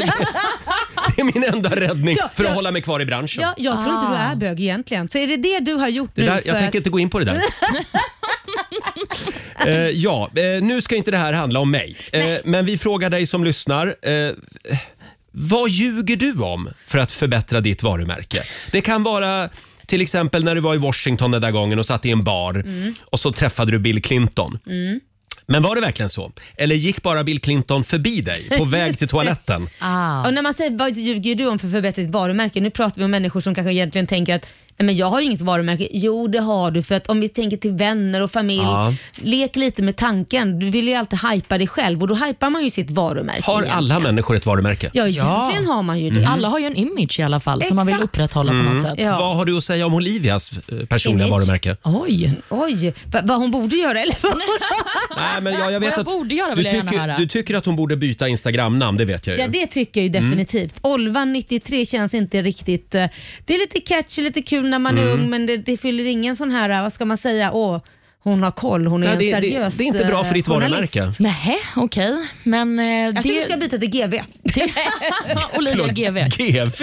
S1: det är min enda räddning
S2: Ja,
S1: för att
S2: ja.
S1: hålla mig kvar i branschen.
S2: Ja, jag tror inte du är bög egentligen. Så är det det du har gjort
S1: Det
S2: nu?
S1: där,
S2: för
S1: jag tänker inte gå in på det där. eh, ja, eh, nu ska inte det här handla om mig. Eh, men vi frågar dig som lyssnar. Eh, vad ljuger du om för att förbättra ditt varumärke? Det kan vara till exempel när du var i Washington den där gången och satt i en bar
S12: Mm.
S1: och så träffade du Bill Clinton.
S12: Mm.
S1: Men var det verkligen så? Eller gick bara Bill Clinton förbi dig på väg till toaletten?
S2: Ah. Och när man säger vad ljuger du om för att förbättra ditt varumärke? Nu pratar vi om människor som kanske egentligen tänker att Nej, men jag har ju inget varumärke. Jo det har du för att om vi tänker till vänner och familj.
S1: Ja.
S2: Lek lite med tanken. Du vill ju alltid hypa dig själv och då hypar man ju sitt varumärke.
S1: Har
S2: igen.
S1: alla människor ett varumärke?
S2: Ja, egentligen har man ju det.
S1: Mm.
S3: Alltså, Alla har ju en image i alla fall som man vill
S2: Exakt.
S3: upprätthålla på något sätt.
S1: Vad har du att säga om Olivias eh, personliga
S3: Image.
S1: varumärke?
S3: Oj.
S2: Oj, vad vad hon borde göra eller? vad?
S1: Nej, men jag, jag vet
S2: Vad jag
S1: att
S2: borde göra
S1: du,
S2: vill jag gärna
S1: tycker,
S2: höra.
S1: du tycker att hon borde byta Instagram-namn, det vet jag ju.
S2: Ja det tycker jag ju
S1: Mm.
S2: definitivt. Olvan 93 känns inte riktigt... eh, Det är lite catchy, lite kul när man är
S1: Mm.
S2: ung men det, det fyller ingen sån här, eh, vad ska man säga, åh hon har koll, hon är
S1: Nej,
S2: en
S1: det- det-
S2: seriös
S1: det är inte bra för ditt
S2: eh, journalist.
S1: varumärke.
S3: Nej, okej. Men eh, det...
S2: Jag tycker du Alltså, ska byta till GV.
S3: Olivia
S1: Förlåt,
S3: GV.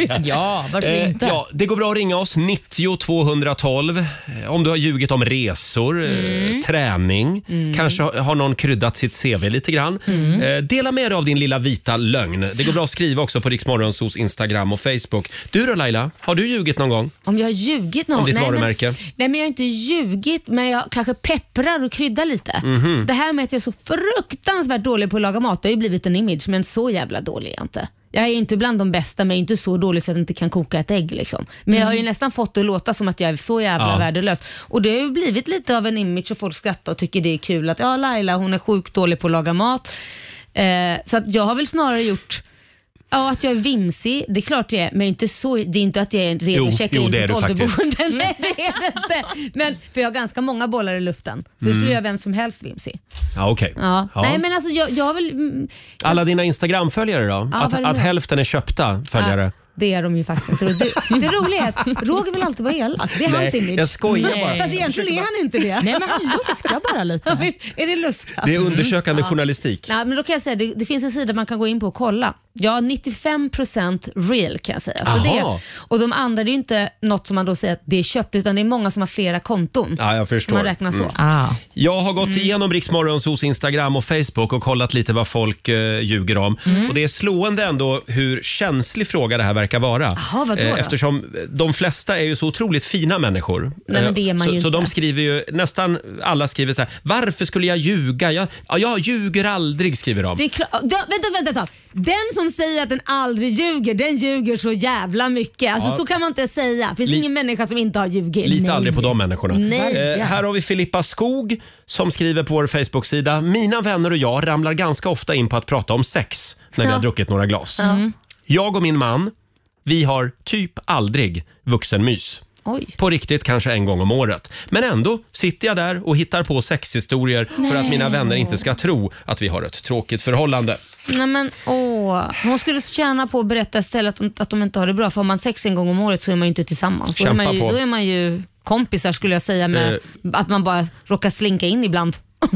S1: GV?
S3: Ja, varför inte?
S1: Eh, Ja, det går bra att ringa oss, 90 212. eh, Om du har ljugit om resor, eh,
S12: Mm.
S1: träning,
S2: Mm.
S1: kanske har, har någon kryddat sitt CV lite grann.
S12: Mm.
S1: Eh, dela med dig av din lilla vita lögn. Det går bra att skriva också på Riksmorgonsos Instagram och Facebook. Du då Laila, har du ljugit någon gång?
S2: Om jag har ljugit någon?
S1: Om ditt
S2: nej,
S1: varumärke?
S2: Men, nej men jag har inte ljugit men jag kanske pepprar och kryddar lite.
S1: Mhm.
S2: Det här med att jag är så fruktansvärt dålig på att laga mat, det har ju blivit en image men så jävla dålig är jag inte. Jag är ju inte bland de bästa men jag är inte så dålig så att jag inte kan koka ett ägg. Liksom. Men jag har ju
S3: Mm.
S2: nästan fått det att låta som att jag är så jävla
S3: Ja.
S2: värdelös. Och det har ju blivit lite av en image och folk skrattar och tycker det är kul att ja Laila hon är sjukt dålig på att laga mat. Eh, så att jag har väl snarare gjort Ja, att jag är vimsig, det är klart det är, men inte så, det är inte att jag är en
S1: Jo,
S2: redo checkar
S1: jo,
S2: in
S1: det
S2: på
S1: är
S2: ett
S1: du faktiskt.
S2: ålderboende. Nej, det är det inte. Men, för jag har ganska många bollar i luften, så det skulle
S1: Mm.
S2: göra vem som helst vimsig.
S1: Ja, okej.
S2: Ja.
S1: Ja.
S2: Nej men alltså jag, jag har väl... mm,
S1: Alla dina Instagram-följare då?
S2: Ja,
S1: att,
S2: vad är det
S1: att
S2: då?
S1: hälften är köpta följare?
S2: Ja, det är de ju faktiskt inte. Och Det, det roliga är att Roger vill alltid vara elak, det är
S1: Nej,
S2: hans image.
S1: jag skojar Nej. bara.
S2: Fast egentligen är han inte det.
S3: Nej, men han luskar bara lite.
S2: är det luska?
S1: Det är undersökande
S2: Mm. Ja.
S1: journalistik.
S2: Nej, men då kan jag säga, det, det finns en sida man kan gå in på och kolla. Ja, 95% real kan jag säga. Så
S1: Jaha.
S2: det, och de andra, det är ju inte något som man då säger att det är köpt, utan det är många som har flera konton.
S1: Ja, jag förstår.
S2: Man räknar Mm. så.
S1: Mm.
S2: Ah.
S1: Jag har gått igenom Riksmorgons hos Instagram och Facebook och kollat lite vad folk eh, ljuger om.
S2: Mm.
S1: Och det är slående ändå hur känslig fråga det här verkar vara. Eh,
S2: Jaha, vadå då?
S1: eftersom de flesta är ju så otroligt fina människor. Eh,
S2: Nej, men det är man
S1: så,
S2: ju
S1: så
S2: inte.
S1: de skriver ju, nästan alla skriver så här, varför skulle jag ljuga? Jag, ja, jag ljuger aldrig, skriver de.
S2: Det är klart- ja, vänta, vänta, vänta. Den som säger att den aldrig ljuger, den ljuger så jävla mycket. Alltså,
S1: Ja.
S2: Så kan man inte säga. Det finns
S1: Li-
S2: ingen människa som inte har ljugit.
S1: Lite aldrig på de människorna.
S2: Nej.
S1: Eh, här har vi Filippa Skog som skriver på vår Facebook-sida. Mina vänner och jag ramlar ganska ofta in på att prata om sex när vi
S2: Ja.
S1: har druckit några glas.
S2: Ja. Mm.
S1: Jag och min man, vi har typ aldrig vuxenmys.
S2: Oj.
S1: På riktigt kanske en gång om året. Men ändå sitter jag där och hittar på sexhistorier för att
S2: Nej.
S1: mina vänner inte ska tro att vi har ett tråkigt förhållande.
S2: Nej men åh. Hon skulle tjäna på att berätta istället att, att de inte har det bra. För har man sex en gång om året så är man ju inte tillsammans. Då är,
S1: Kämpa
S2: man ju,
S1: på.
S2: då är man ju kompisar skulle jag säga med
S1: Eh. alltså,
S2: att man bara råkar slinka in ibland.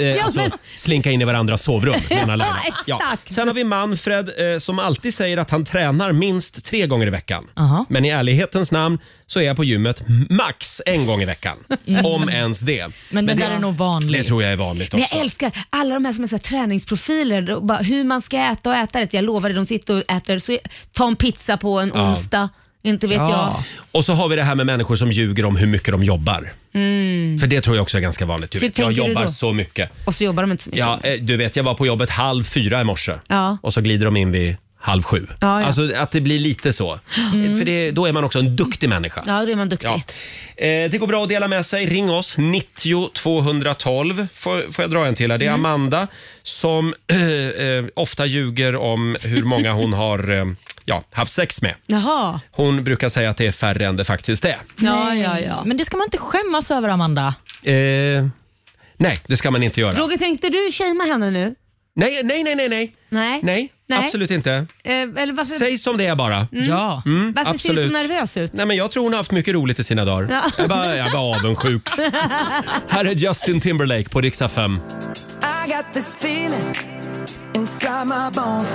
S1: Eh,
S2: Ja,
S1: alltså,
S2: men-
S1: Slinka in i varandras sovrum, menar Laila.
S2: Ja, exakt.
S1: Sen har vi Manfred eh, som alltid säger att han tränar minst tre gånger i veckan.
S3: Aha.
S1: Men i ärlighetens namn så är jag på gymmet max en gång i veckan.
S3: Mm.
S1: Om ens det.
S3: Men det där
S1: det,
S3: är nog vanligt.
S1: Det tror jag är vanligt
S2: Men
S1: också.
S2: jag älskar alla de här som är så här träningsprofiler, och bara hur man ska äta och äta rätt. Jag lovar dig, de sitter och äter, så ta en pizza på en
S1: Ja.
S2: onsdag, inte vet
S1: Och så har vi det här med människor som ljuger om hur mycket de jobbar.
S2: jag. Mm.
S1: För det tror jag också är ganska vanligt.
S2: Hur
S1: Hur jag
S2: tänker du
S1: jobbar
S2: då?
S1: så mycket.
S2: Och så jobbar de inte så mycket.
S1: Ja, eh, du vet, jag var på jobbet halv fyra i morse
S2: Ja.
S1: och så glider de in vid halv sju.
S2: Ja, ja.
S1: Alltså att det blir lite så.
S2: Mm.
S1: För det, då är man också en duktig människa.
S2: Ja, då är man duktig.
S1: Ja. Eh, det går bra att dela med sig. Ring oss, 90 212. Får, får jag dra en till här? Det är
S2: Mm.
S1: Amanda som eh, eh, ofta ljuger om hur många hon har eh, ja, haft sex med.
S2: Jaha.
S1: Hon brukar säga att det är färre än det faktiskt är.
S3: Ja, ja, ja. Men det ska man inte skämmas över, Amanda.
S1: Eh, nej, det ska man inte göra.
S2: Roger, tänkte du shamea henne nu?
S1: Nej, nej, nej, nej, nej.
S2: Nej.
S1: Nej,
S2: Nej.
S1: absolut inte.
S2: Eh, eller varför
S1: Säg som det är bara.
S2: Mm. Ja.
S1: Mm,
S2: varför
S1: absolut.
S2: ser du så nervös ut?
S1: Nej, men jag tror hon har haft mycket roligt i sina dagar.
S2: Ja.
S1: Jag är bara, jag är bara avundsjuk. Här är Justin Timberlake på Riksa 5.
S12: I got this feeling inside my bones.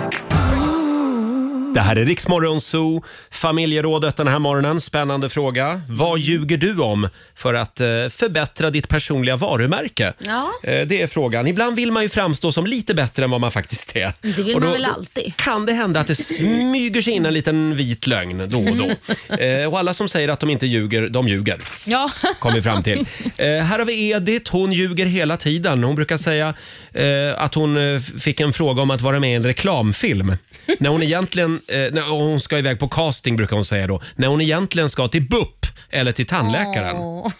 S1: Det här är Riksmorgon Zoo, familjerådet den här morgonen. Spännande fråga. Vad ljuger du om för att eh, förbättra ditt personliga varumärke?
S2: Ja.
S1: Eh, Det är frågan. Ibland vill man ju framstå som lite bättre än vad man faktiskt är.
S2: Det vill
S1: Och
S2: man
S1: då-
S2: väl alltid?
S1: Kan det hända att det smyger sig in en liten vit lögn då och då? Eh, Och alla som säger att de inte ljuger, de ljuger.
S3: Ja.
S1: Kom vi fram till. Eh, här har vi Edith, hon ljuger hela tiden. Hon brukar säga eh, att hon eh, fick en fråga om att vara med i en reklamfilm. När hon egentligen eh, nej, hon ska iväg på casting brukar hon säga då, när hon egentligen ska till BUP eller till tandläkaren.
S2: Åh.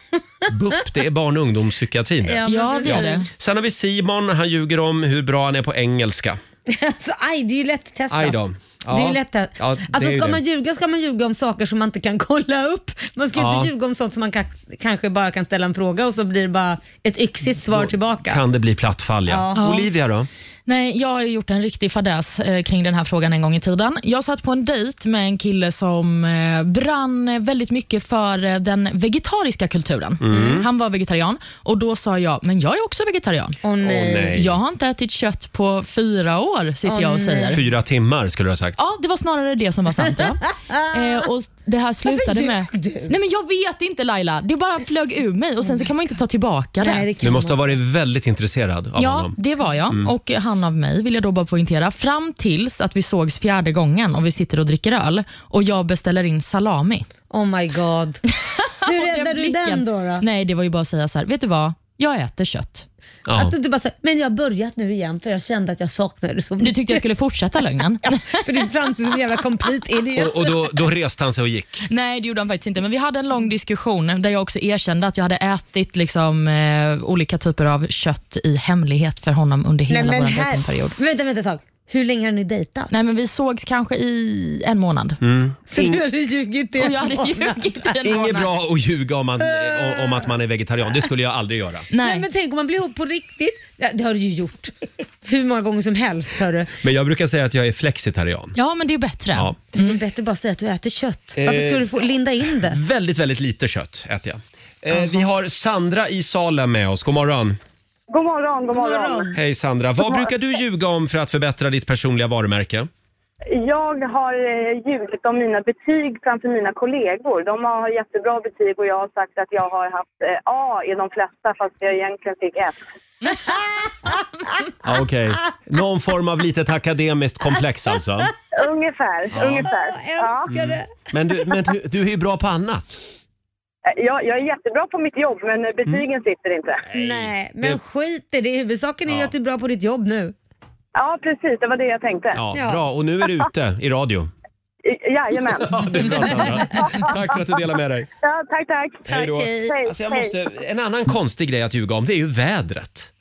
S1: BUP, det är barn och ungdomspsykiatrin.
S2: Ja, men Ja, det är precis. det.
S1: Sen har vi Simon, han ljuger om hur bra han är på engelska.
S2: Alltså, aj, det är ju lätt testat.
S1: Aj då. Ja.
S2: Det är ju lätt att...
S1: Ja, det
S2: alltså
S1: är ju
S2: ska
S1: det.
S2: man ljuga ska man ljuga om saker som man inte kan kolla upp. Man ska ju
S1: Ja.
S2: inte ljuga om sånt som man kan, kanske bara kan ställa en fråga och så blir det bara ett yxigt svar tillbaka.
S1: Kan det bli plattfall ja.
S2: Ja.
S1: Olivia då?
S3: Nej, jag har ju gjort en riktig fadäs eh, kring den här frågan en gång i tiden. Jag satt på en dejt med en kille som eh, brann väldigt mycket för eh, den vegetariska kulturen.
S13: Mm.
S3: Han var vegetarian och då sa jag, men jag är också vegetarian.
S2: Åh,
S1: nej. Åh, nej.
S3: Jag har inte ätit kött på fyra år, sitter jag och säger.
S1: Fyra timmar skulle du ha sagt.
S3: Ja, det var snarare det som var sant. Ja. Eh, och det här slutade
S2: Varför
S3: med...
S2: ljög du?
S3: Nej, men jag vet inte Laila. Det bara flög ur mig och sen så kan man inte ta tillbaka det.
S1: Du måste ha varit väldigt intresserad av
S3: Ja,
S1: honom.
S3: det var jag
S1: Mm.
S3: och han av mig vill jag då bara poängtera. Fram tills att vi sågs fjärde gången och vi sitter och dricker öl och jag beställer in salami.
S2: Oh my god. Hur
S3: Och
S2: räddade du
S3: blicken.
S2: den då? då?
S3: Nej, det var ju bara att säga så här, vet du vad? Jag äter kött.
S2: Att du inte bara säger, men jag har börjat nu igen för jag kände att jag saknade det så mycket.
S3: Du tyckte jag skulle fortsätta lögnen?
S2: ja, för du framstod som en jävla complete idiot.
S1: Och, och då, då reste han sig och gick.
S3: Nej, det gjorde han faktiskt inte. Men vi hade en lång diskussion där jag också erkände att jag hade ätit liksom, eh, olika typer av kött i hemlighet för honom under hela
S2: Nej, men
S3: vår
S2: här-
S3: dejtingperiod.
S2: Men vänta, vänta ett tag. Hur länge har ni dejtat?
S3: Nej, men vi sågs kanske i en månad.
S1: Mm.
S2: Så du hade ljugit i
S3: Och
S2: en
S3: jag hade
S2: månad.
S3: ljugit i en
S1: Inget
S3: månad.
S1: bra att ljuga om, man, eh, om att man är vegetarian. Det skulle jag aldrig göra.
S2: Nej. men tänk om man blir ihop på riktigt. Ja, det har du ju gjort. Hur många gånger som helst hörru.
S1: Men jag brukar säga att jag är flexitarian.
S3: Ja men det är bättre.
S1: Ja.
S2: Det är bättre bara att säga att du äter kött. Varför
S1: Eh.
S2: skulle du få linda in det?
S1: Väldigt, väldigt lite kött äter jag. Eh, vi har Sandra i salen med oss. God morgon.
S9: God morgon, god morgon.
S1: Hej Sandra.
S9: God
S1: Vad
S9: morgon.
S1: brukar du ljuga om för att förbättra ditt personliga varumärke?
S9: Jag har eh, ljugit om mina betyg framför mina kollegor. De har jättebra betyg och jag har sagt att jag har haft eh, A i de flesta fast jag egentligen fick F.
S1: Ja, Okej. Någon form av litet akademiskt komplex alltså.
S9: Ungefär,
S1: Ja.
S9: ungefär. Ja.
S1: Mm. Men, du, men du, du är ju bra på annat.
S9: Eh, Jag, jag är jättebra på mitt jobb men eh,
S1: Mm.
S9: betygen sitter inte.
S2: Nej, men skit i det. Huvudsaken är ju att du är bra på ditt jobb nu.
S9: Ja, precis. Det var det jag tänkte.
S1: Ja, Bra, och nu är du ute i radio.
S9: I- Jajamän.
S1: Ja, det är bra Sandra. Tack för att du delar med dig.
S9: Ja, tack, tack.
S1: Hej då. Alltså jag måste, en annan konstig grej att ljuga om, det är ju vädret.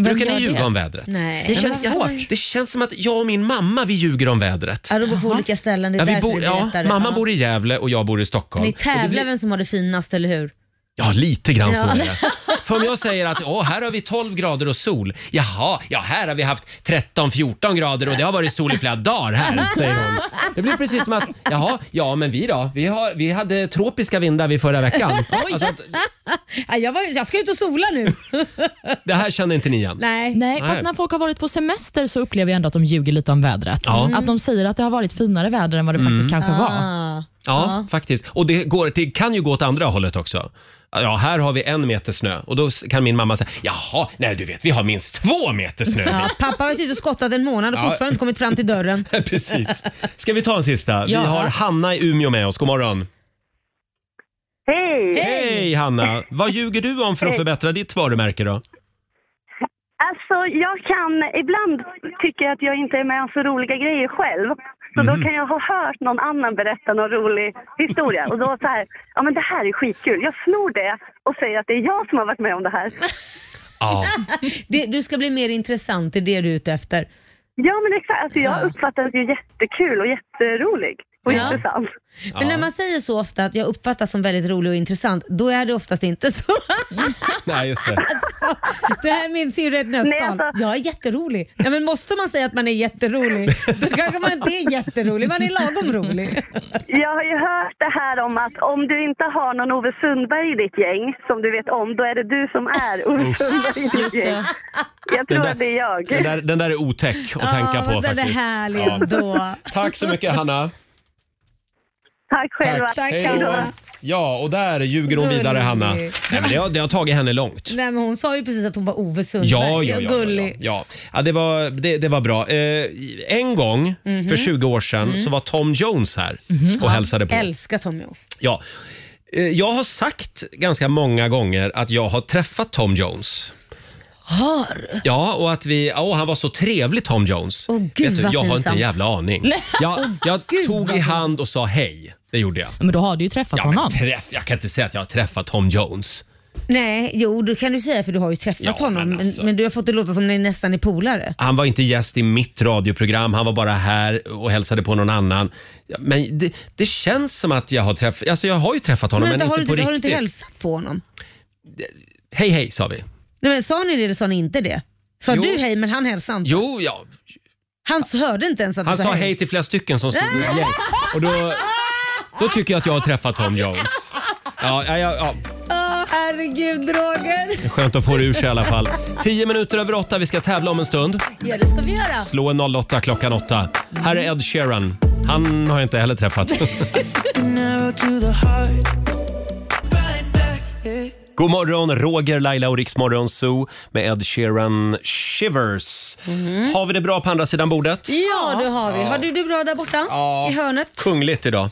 S1: Brukar
S2: gör
S1: ni ljuga
S2: det?
S1: om vädret?
S2: Nej. Det känns
S1: men jag-
S2: svårt.
S1: Det känns som att jag och min mamma, vi ljuger om vädret.
S2: Ja, de bor på olika ställen. Det är
S1: Ja, vi
S2: därför det
S1: bor,
S2: blir
S1: ja,
S2: lättare.
S1: mamma
S2: Ja.
S1: bor i Gävle och jag bor i Stockholm.
S2: Ni
S1: Och det
S2: tävlar
S1: blir-
S2: vem som har det finast, eller hur?
S1: Ja, lite grann så
S2: Ja.
S1: är det. För om jag säger att Åh, här har vi 12 grader och sol. Jaha, ja här har vi haft 13-14 grader och det har varit sol i flera dagar här, säger hon. Det blir precis som att, jaha, ja men vi då? Vi, har, vi hade tropiska vindar vid förra veckan.
S2: Oj.
S1: Alltså, att-
S2: Ja, jag, var, jag ska ut och sola nu.
S1: det här känner inte ni igen.
S2: Nej.
S3: Nej,
S1: Nej.
S3: fast när folk har varit på semester så upplever jag ändå att de ljuger lite om vädret.
S1: Ja. Mm.
S3: Att de säger att det har varit finare väder än vad det faktiskt kanske var.
S1: Ja, faktiskt. Och det, går, det kan ju gå åt andra hållet också. Ja, här har vi en meter snö och då kan min mamma säga jaha, nej du vet vi har minst två meter snö.
S2: Ja, pappa har varit ute och skottat en månad och
S1: Ja.
S2: fortfarande inte kommit fram till dörren.
S1: Precis. Ska vi ta en sista? Vi
S2: Ja.
S1: har Hanna i Umeå med oss. God morgon.
S9: Hej!
S1: Hej Hanna! Vad ljuger du om för att
S9: Hej.
S1: förbättra ditt varumärke då?
S9: Alltså, jag kan... Ibland tycker jag att jag inte är med om så roliga grejer själv. Så då kan jag ha hört någon annan berätta någon rolig historia. Och då så här, ja men det här är skitkul. Jag snor det och säger att det är jag som har varit med om det här.
S2: Det, du ska bli mer intressant, det är det du är ute efter.
S9: Ja men exakt, alltså, jag uppfattar det ju jättekul och jätterolig. Och
S2: Ja.
S9: intressant.
S2: Men när man säger så ofta att jag uppfattas som väldigt rolig och intressant, då är det oftast inte så. Alltså,
S1: Nej, just det.
S2: Det här minns ju rätt
S9: Nej,
S2: nötskal.
S9: alltså-
S2: Jag är jätterolig. Ja, men måste man säga att man är jätterolig, då kanske man inte är jätterolig, man är lagom rolig.
S9: Jag har ju hört det här om att om du inte har någon Ove Sundberg i ditt gäng som du vet om, då är det du som är Ove
S1: Uff.
S9: Sundberg i ditt
S2: Just det.
S9: gäng. Jag tror
S1: Den där-
S9: att det är jag.
S1: Den där, den där är otäck att
S9: Ja,
S1: tänka på
S9: men den är
S1: faktiskt.
S9: härlig ändå.
S1: Tack så mycket Hanna.
S9: Tack själva.
S1: Hej då. Ja, och där ljuger hon vidare
S2: Gullig.
S1: Hanna. Nej, men det, har, det har tagit henne långt.
S2: Nej, men hon sa ju precis att hon var Ove Sundberg.
S1: Ja, ja, ja, ja, ja,
S2: Gullig.
S1: ja. ja det, var, det, det var bra. Eh, en gång
S2: Mhm.
S1: för 20 år sedan
S2: Mm.
S1: så var Tom Jones här och
S2: Ja.
S1: hälsade på.
S2: Älskar Tom Jones.
S1: Ja. Eh, Jag har sagt ganska många gånger att jag har träffat Tom Jones.
S2: har.
S1: Ja, och att vi... Åh, han var så trevlig Tom Jones.
S2: Åh, gud,
S1: Vet du,
S2: vad
S1: jag har inte en
S2: pinsamt. alltså,
S1: jävla aning.
S3: Nej,
S1: Jag, jag
S3: gud,
S1: tog
S3: vad
S1: i hand och sa hej. Det gjorde jag.
S3: Men då har du ju träffat
S1: Ja, men
S3: honom.
S1: träff, jag kan inte säga att jag har träffat Tom Jones.
S2: Nej, jo det kan du säga för du har ju träffat
S1: Ja, alltså.
S2: honom. Men, men du har fått det låta som ni nästan är polare.
S1: Han var inte gäst i mitt radioprogram, han var bara här och hälsade på någon annan. Men det, det känns som att jag har träffat, alltså jag har ju träffat honom men,
S2: vänta,
S1: inte
S2: har,
S1: på
S2: du inte,
S1: riktigt.
S2: har du inte hälsat på honom?
S1: Hej hej sa vi.
S2: Nej, men, sa ni det eller sa ni inte det? Sa du hej men han hälsade inte?
S1: Jo, ja.
S2: Han s- hörde inte ens att
S1: han
S2: du
S1: sa hej till flera stycken som stod i ett gäng. Och då, då tycker jag att jag har träffat Tom Jones. Ja, ja, ja, ja.
S2: Åh, herregud Roger.
S1: Det är skönt att få det ur sig i alla fall. Tio minuter över åtta, vi ska tävla om en stund.
S2: Ja det ska vi göra.
S1: Slå en 08 klockan åtta. Här är Ed Sheeran. Han har jag inte heller träffat. God morgon, Roger, Laila och Riksmorgon Zoo med Ed Sheeran Shivers. Har vi det bra på andra sidan bordet?
S2: Mhm. Ja det har vi.
S1: Ja.
S2: Har du det bra där borta?
S1: Ja.
S2: I hörnet?
S1: Kungligt idag.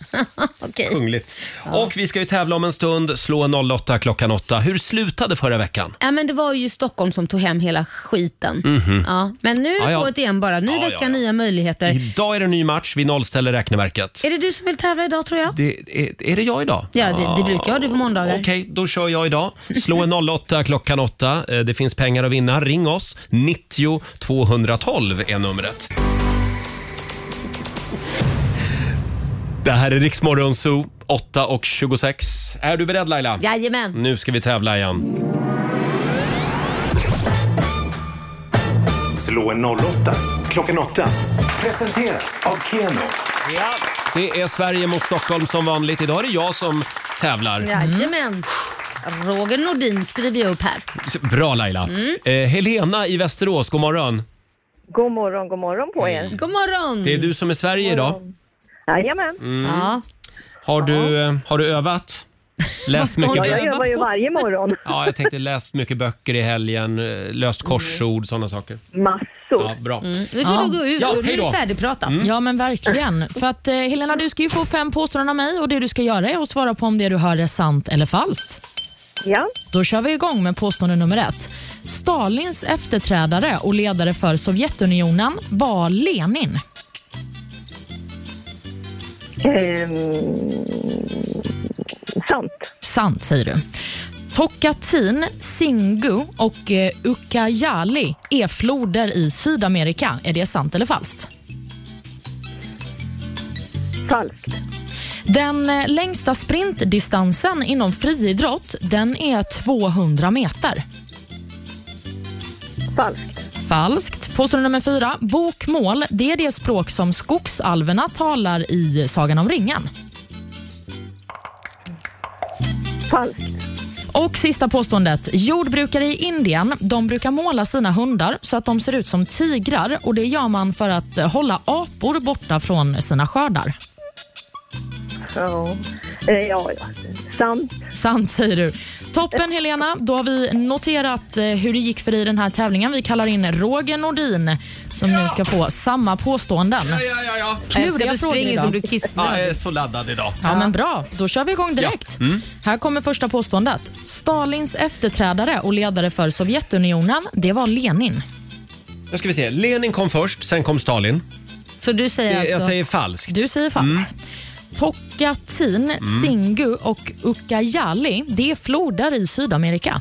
S2: Okej.
S1: Kungligt. Och vi ska ju tävla om en stund. Slå en 08 klockan åtta. Hur slutade förra veckan?
S2: Ja, men det var ju Stockholm som tog hem hela skiten.
S1: Mhm.
S2: Ja, men nu är
S1: Ja,
S2: det
S1: ja.
S2: på ett igen bara. Ny
S1: Ja,
S2: vecka,
S1: ja, ja.
S2: nya möjligheter.
S1: Idag är det en ny match. Vi nollställer räkneverket.
S2: Är det du som vill tävla idag tror jag?
S1: Det, är, är det jag idag?
S2: Ja, det, det brukar jag. Du på måndagar.
S1: Okej, då kör jag idag. Slå en 08 klockan 8. Eh, Det finns pengar att vinna. Ring oss. 90 212 är numret. Det här är Riksmorgon Zoo, 8 och 26. Är du beredd Laila?
S2: Jajamän.
S1: Nu ska vi tävla igen.
S11: Slå en 08 klockan 8. Presenteras av Keno.
S1: Ja. Det är Sverige mot Stockholm som vanligt. Idag är det jag som tävlar.
S2: Mm. Jajamän. Roger Nordin skriver jag upp här.
S1: Bra Laila.
S2: Mm.
S1: Eh, Helena i Västerås, god morgon.
S13: God morgon, god morgon på er.
S2: God morgon.
S13: Mm.
S1: Det är du som är Sverige idag.
S13: Jajamän.
S1: Mm. Ja. Har du, eh, har du övat? Läst mycket
S13: Ja, jag
S1: böcker?
S13: övar ju varje morgon.
S1: Ja, jag tänkte läst mycket böcker i helgen, eh, löst korsord, sådana saker.
S13: Massor.
S1: Ja, bra.
S2: Nu Mm. får du gå ut.
S1: Ja,
S2: nu
S1: hej
S2: är
S1: då.
S2: det färdigpratat.
S1: Mm.
S3: Ja men verkligen. För att eh, Helena du ska ju få fem påståenden av mig och det du ska göra är att svara på om det du hör är sant eller falskt.
S13: Ja.
S3: Då kör vi igång med påstående nummer ett. Stalins efterträdare och ledare för Sovjetunionen var Lenin.
S13: Ehm, sant.
S3: Sant säger du. Tokatin, Singu och eh, Ucayali är floder i Sydamerika. Är det sant eller falskt?
S13: Falskt.
S3: Den eh, längsta sprintdistansen inom friidrott den är 200 meter.
S13: Falskt.
S3: Falskt. Påstående nummer fyra. Bokmål det är det språk som skogsalverna talar i Sagan om ringen.
S13: Falskt.
S3: Och sista påståendet. Jordbrukare i Indien de brukar måla sina hundar så att de ser ut som tigrar. och Det gör man för att eh, hålla apor borta från sina skördar.
S13: Ja. Eh, ja, ja. Sant.
S3: Sant säger du. Toppen Helena, då har vi noterat eh, hur det gick för dig i den här tävlingen. Vi kallar in Roger Nordin som nu ska få samma påståenden.
S1: Ja, ja, ja, ja.
S3: Kluriga frågor idag.
S1: Ja, jag är så laddad idag.
S3: Ja, men bra. Då kör vi igång direkt.
S1: Mm.
S3: Här kommer första påståendet. Stalins efterträdare och ledare för Sovjetunionen, det var Lenin.
S1: Då ska vi se. Lenin kom först, sen kom Stalin.
S2: Så du
S1: Det-
S2: säger alltså...
S1: Jag säger falskt.
S3: Du säger falskt. Tokatin,
S1: Mm.
S3: Singu och Ucayali, det är floder i Sydamerika.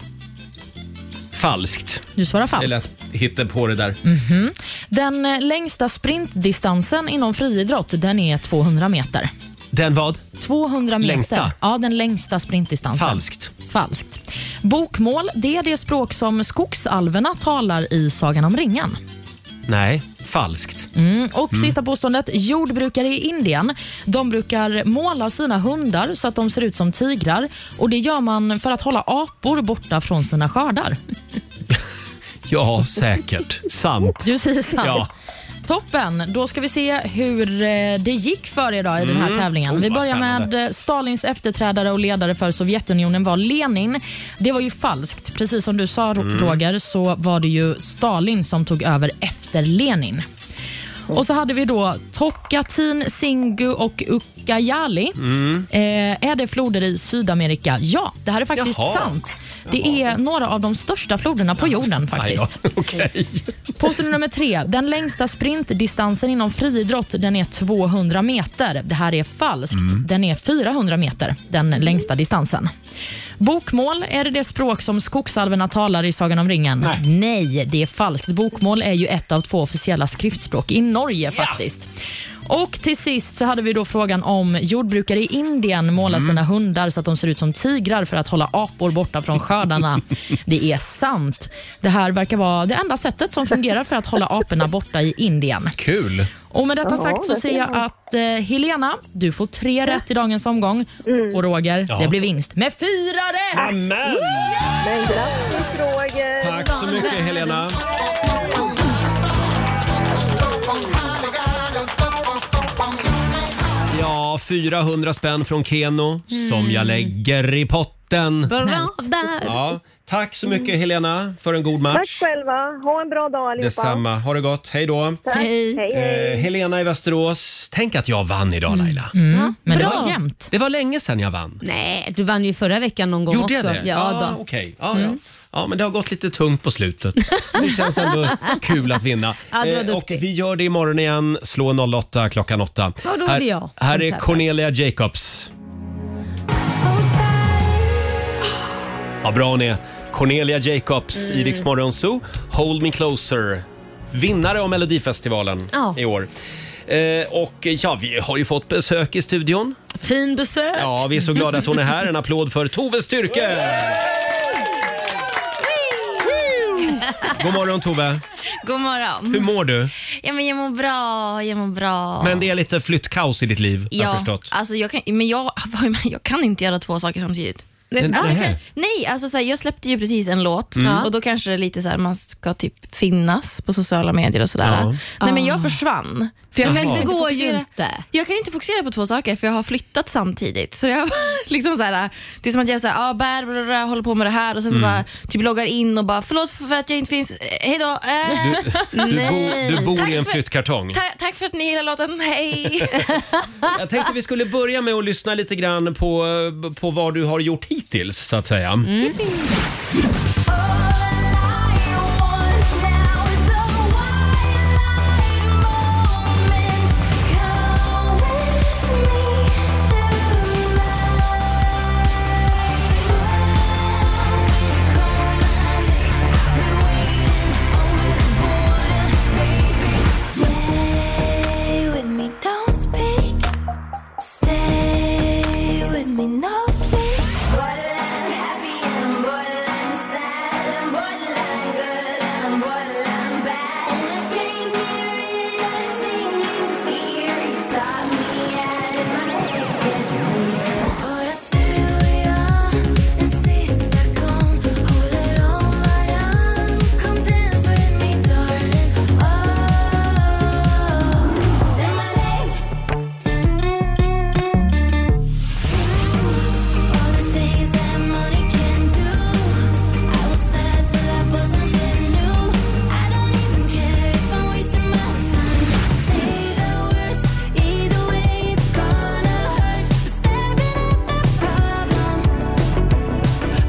S1: Falskt. Mm.
S3: Du svarar
S1: Det
S3: falskt.
S1: lät hitta på det där.
S3: Mhm. Den eh, längsta sprintdistansen inom friidrott, den är 200 meter.
S1: Den vad?
S3: 200 meter.
S1: Längsta?
S3: Ja, den längsta sprintdistansen.
S1: Falskt.
S3: Falskt. Bokmål, det är det språk som skogsalverna talar i Sagan om ringen.
S1: Nej, falskt.
S3: Mm. Och
S1: Mm.
S3: sista påståendet. Jordbrukare i Indien de brukar måla sina hundar så att de ser ut som tigrar. Och Det gör man för att hålla apor borta från sina skördar.
S1: Ja, säkert. Sant.
S3: Du säger sant.
S1: Ja.
S3: Toppen! Då ska vi se hur eh, det gick för er idag i den här
S1: Mm.
S3: tävlingen.
S1: Oh,
S3: vi
S1: vad
S3: börjar med
S1: spännande.
S3: eh, Stalins efterträdare och ledare för Sovjetunionen var Lenin. Det var ju falskt. Precis som du sa Ro-
S14: Mm.
S3: Roger så var det ju Stalin som tog över efter Lenin. Och så hade vi då Tokatin, Singu och Ucayali.
S1: Mm.
S3: Eh, är det floder i Sydamerika? Ja, det här är faktiskt
S1: Jaha.
S3: sant. Det är några av de största floderna på jorden faktiskt.
S1: Aj då, Okej.
S3: Påstående nummer tre. Den längsta sprintdistansen inom friidrott den är 200 meter. Det här är falskt.
S14: Mm.
S3: Den är 400 meter, den längsta distansen. Bokmål, är det det språk som skogsalverna talar i Sagan om ringen? Nej. det är falskt. Bokmål är ju ett av två officiella skriftspråk i Norge faktiskt. Och till sist så hade vi då frågan om jordbrukare i Indien målar
S1: Mm.
S3: sina hundar så att de ser ut som tigrar för att hålla apor borta från skördarna. Det är sant. Det här verkar vara det enda sättet som fungerar för att hålla aporna borta i Indien.
S1: Kul.
S3: Och med detta
S1: Ja,
S3: sagt så
S1: verkligen.
S3: ser jag att eh, Helena, du får tre rätt i dagens omgång. Och Roger,
S1: Ja.
S3: det blir vinst med fyra rätt!
S1: Amen.
S3: Men
S13: grattis Roger!
S1: Tack så mycket Helena. Ja, 400 spänn från Keno som
S2: Mm.
S1: jag lägger i potten.
S2: Bra där.
S1: Ja, tack så mycket Helena för en god
S13: Tack
S1: match.
S13: själva. Ha en bra dag allihopa.
S1: Detsamma. Ha det gott. Hej då.
S13: Tack. Hej. Hej, hej.
S1: Eh, Helena i Västerås. Tänk att jag vann idag
S13: Mm.
S1: Laila.
S2: men det
S1: Bra.
S2: var jämnt.
S1: Det var länge sedan jag vann.
S2: Nej, du vann ju förra veckan någon gång
S1: Gjorde jag
S2: också.
S1: det?
S2: Ja,
S1: ah,
S2: då.
S1: okej. Ja, ja.
S2: Mm.
S1: ja, men det har gått lite tungt på slutet. Så det känns ändå kul att vinna. Eh,
S2: Ja, du var
S1: och vi gör det imorgon igen. Slå 08 klockan 8.
S2: Ja, då är
S1: här,
S2: det jag
S1: här
S2: som
S1: är
S2: tävlar.
S1: Cornelia Jacobs. Ja, bra hon är. Cornelia Jacobs i
S2: Mm.
S1: Rix Morgon Zoo. Hold Me Closer. Vinnare av Melodifestivalen
S2: Ja.
S1: i år. Eh, och ja, vi har ju fått besök i studion.
S2: Fin besök.
S1: Ja, vi är så glada att hon är här. En applåd för Tove Styrke! God morgon Tove!
S15: God morgon.
S1: Hur mår du?
S15: Ja, men jag mår bra, jag mår bra.
S1: Men det är lite flyttkaos i ditt liv, har jag
S15: ja,
S1: förstått.
S15: alltså jag kan, men jag, jag kan inte göra två saker samtidigt. Det-
S1: Men-
S15: alltså, jag
S1: nähä.
S15: kan, nej, alltså så här, jag släppte ju precis en låt
S1: Mm.
S15: och då kanske det är lite så här, man ska typ finnas på sociala medier och sådär.
S1: Ja.
S15: Nej men jag försvann. För jag,
S2: Jaha.
S15: kan liksom
S2: Det
S15: inte
S2: går ju
S15: fokusera-
S2: inte.
S15: jag kan inte fokusera på två saker för jag har flyttat samtidigt. Så jag liksom så här, Det är som att jag så här, ah, bär, bär, bär, håller på med det här och sen så
S1: Mm.
S15: bara typ loggar in och bara förlåt för att jag inte finns, Eh, hejdå. Eh.
S1: Du, du, bo, du bor
S15: Tack
S1: i en
S15: för-
S1: flyttkartong.
S15: Ta- tack för att ni gillar låten, hej!
S1: Jag tänkte vi skulle börja med att lyssna lite grann på, på vad du har gjort hittills, så att säga.
S15: Mm.
S14: Stay with me, don't speak. Stay with me, no sleep. Borderline happy and I'm borderline sad. I'm borderline good and I'm borderline bad. And I came here reacting in fear. You saw me out of my head. Gets clear. But I tell ya, insist I come. Hold it all madam. Come dance with me, darling. Oh, say my name. All the things that money can do. I was sad till I put something new. I don't even care if I'm wasting my time. Say the words, either way it's gonna hurt. Stabbing at the problem,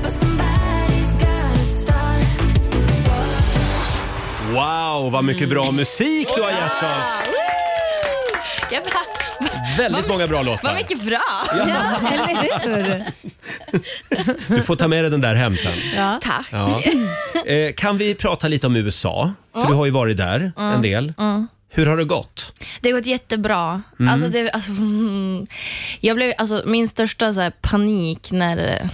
S14: but somebody's gotta start.
S1: Wow, vad mycket
S15: Mm.
S1: bra musik du har gett oss!
S15: Jag bara,
S1: Väldigt många bra
S15: vad
S1: låtar.
S15: mycket bra!
S2: Ja, eller hur?
S1: Du får ta med dig den där hem sen.
S15: Tack.
S1: Ja. Eh, kan vi prata lite om USA? För
S15: Mm.
S1: du har ju varit där en
S15: Mm,
S1: del.
S15: mm.
S1: Hur har det gått?
S15: Det har gått jättebra.
S1: Mm.
S15: Alltså det, alltså, mm. jag blev, alltså, min största så här, panik när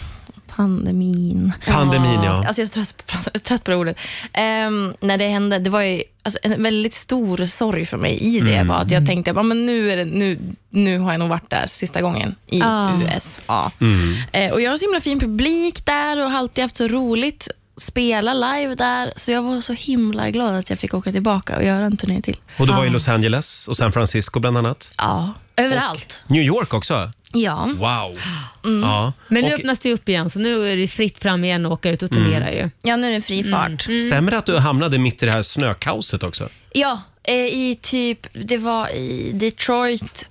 S15: pandemin.
S1: Pandemin, ja.
S15: Alltså, jag är så trött, på- jag är trött på det ordet. Ehm, när det hände, det var ju alltså, en väldigt stor sorg för mig i det.
S1: Mm.
S15: Var att jag tänkte, "Ja, men nu, är det, nu, nu har jag nog varit där sista gången i
S1: Ah.
S15: USA.
S1: Mm.
S15: Eh, och jag har så himla fin publik där och har alltid haft så roligt spela live där. Så jag var så himla glad att jag fick åka tillbaka och göra en turné till.
S1: Och du var i
S15: Ja.
S1: Los Angeles och San Francisco bland annat.
S15: Ja, överallt.
S1: New York också?
S15: Ja.
S1: Wow!
S15: Mm.
S1: Ja.
S2: Men nu
S1: Och-
S2: öppnas det ju upp igen, så nu är det fritt fram igen att åka ut och turnera.
S1: Mm.
S2: Ju.
S15: Ja, nu är det fri fart.
S1: Stämmer det att du hamnade mitt i det här snökaoset också?
S15: Ja, eh, i typ, det var i Detroit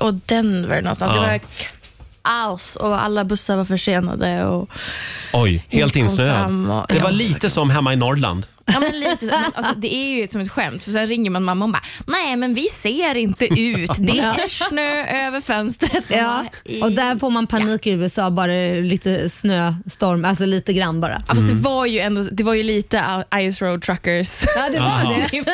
S15: och Denver någonstans.
S1: Ja.
S15: Det var kaos och alla bussar var försenade. Och,
S1: Oj, helt
S15: Kom
S1: insnöad.
S15: fram och-
S1: Det var
S15: ja,
S1: lite som hemma i Norrland.
S15: ja, men lite, så. men, alltså, det är ju som ett skämt, för sen ringer man mamma och bara “Nej, men vi ser inte ut. Det är snö över fönstret”.
S2: Ja, och där får man panik i USA, bara lite snöstorm, alltså lite grann bara.
S15: Ja, fast det var ju ändå det var ju lite IS Road Truckers.
S2: Ja,
S1: det var Aha. det.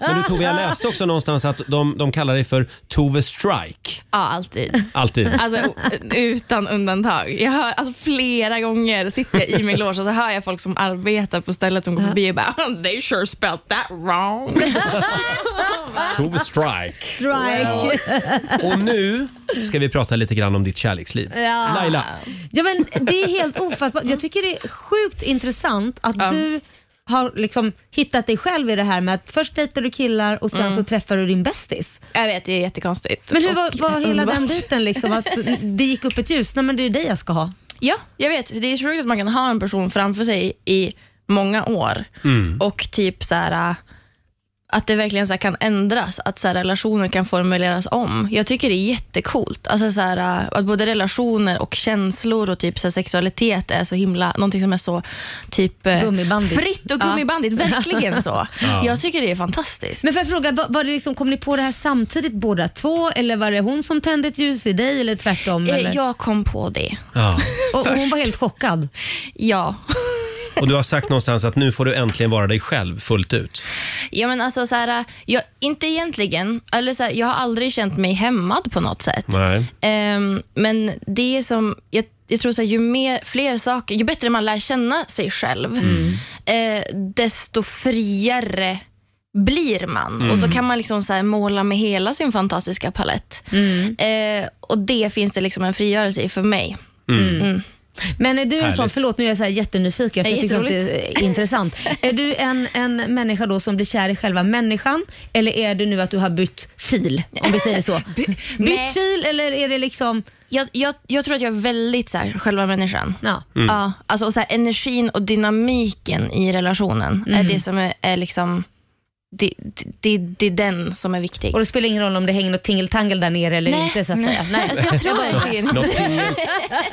S1: Men du Tove, jag läste också någonstans att de, de kallar dig för Tove Strike.
S15: Ja, alltid.
S1: Alltid.
S15: Alltså, o- utan undantag. Jag hör, alltså, flera gånger sitter jag i min loge och så hör jag folk som arbetar på stället som går förbi och bara “They sure spelled that wrong”.
S1: Tove Strike.
S2: Strike.
S1: Och nu ska vi prata lite grann om ditt kärleksliv.
S2: Ja.
S1: Laila,
S2: Ja, men det är helt ofattbart. Jag tycker det är sjukt intressant att du har liksom hittat dig själv i det här med att först dejtar du killar och sen
S15: Mm.
S2: så träffar du din bästis.
S15: Jag vet, det är jättekonstigt.
S2: Men hur var,
S15: Och
S2: var hela den
S15: underbart.
S2: biten liksom? Att det gick upp ett ljus? Nej men det är ju dig jag ska ha.
S15: Ja, jag vet. Det är så sjukt att man kan ha en person framför sig i många år
S14: Mm.
S15: och typ så här äh, att det verkligen så här kan ändras, att så här relationer kan formuleras om. Jag tycker det är jättecoolt. Alltså så här, äh, att både relationer och känslor och typ så här sexualitet är så himla, någonting som är så typ eh,
S2: Gummibandigt.
S15: fritt och gummibandigt.
S2: Ja.
S15: Verkligen så.
S2: Ja.
S15: Jag tycker det är fantastiskt.
S2: Men får jag fråga, var, var det liksom, kom ni på det här samtidigt båda två eller var det hon som tände ett ljus i dig eller tvärtom?
S15: Eh,
S2: Eller?
S15: Jag kom på det.
S2: Och, och hon
S15: först.
S2: var helt chockad?
S15: Ja.
S1: och du har sagt någonstans att nu får du äntligen vara dig själv fullt ut.
S15: Ja men alltså så här, jag, inte egentligen, eller så här, jag har aldrig känt mig hämmad på något sätt.
S1: Nej.
S15: Ehm, men det är som, jag, jag tror så här, ju mer, fler saker, ju bättre man lär känna sig själv,
S14: Mm.
S15: eh, desto friare blir man.
S14: Mm.
S15: Och så kan man liksom så här måla med hela sin fantastiska palett. Eh, och det finns det liksom en frigörelse i för mig.
S14: Mm.
S2: Men är du en sån,
S15: Härligt.
S2: förlåt nu är jag så här jättenyfiken för
S15: Nej,
S2: jag tycker att det är intressant. Är du en, en människa då som blir kär i själva människan eller är det nu att du har bytt fil? Om vi säger så. bytt
S15: Nej.
S2: fil eller är det liksom...
S15: Jag, jag, jag tror att jag är väldigt så här, själva människan.
S2: Ja.
S15: Mm.
S14: Mm.
S15: Ja, alltså, och så här, energin och dynamiken i relationen
S2: Mm.
S15: är det som är, är liksom, det, det, det, det är den som är viktig.
S2: Och det spelar ingen roll om det hänger något tingeltangel där nere eller
S15: Nej,
S2: inte så att
S15: nej.
S2: säga.
S15: Alltså, jag tror
S2: bara-
S15: verkligen inte
S1: Något tingel-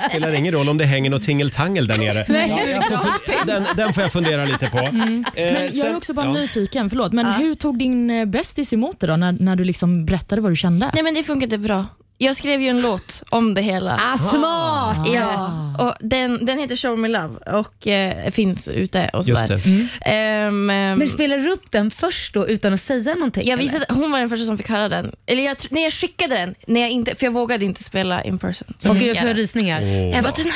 S1: Spelar ingen roll om det hänger något tingeltangel där nere.
S3: Nej.
S1: Ja, jag får fun- den, den får jag fundera lite på.
S3: Mm.
S1: Eh,
S3: Men jag
S1: sen-
S3: är också bara
S1: ja.
S3: nyfiken, förlåt. Men
S15: Ja.
S3: hur tog din eh, bästis emot det då, när, när du liksom berättade vad du kände?
S15: Nej men det funkade bra. Jag skrev ju en låt om det hela.
S2: Ah, smart!
S15: Ja, och den, den heter Show Me Love och eh, finns ute och
S14: Just
S15: sådär. Ehm, Mm.
S2: Men spelar du upp den först då utan att säga någonting?
S15: Jag visade, hon var den första som fick höra den. Eller jag, tr- nej, jag skickade den, när jag inte, för jag vågade inte spela in person. Så
S2: Och
S15: skickade
S2: gud, jag får
S15: den.
S2: rysningar. Åh.
S15: Jag bara, den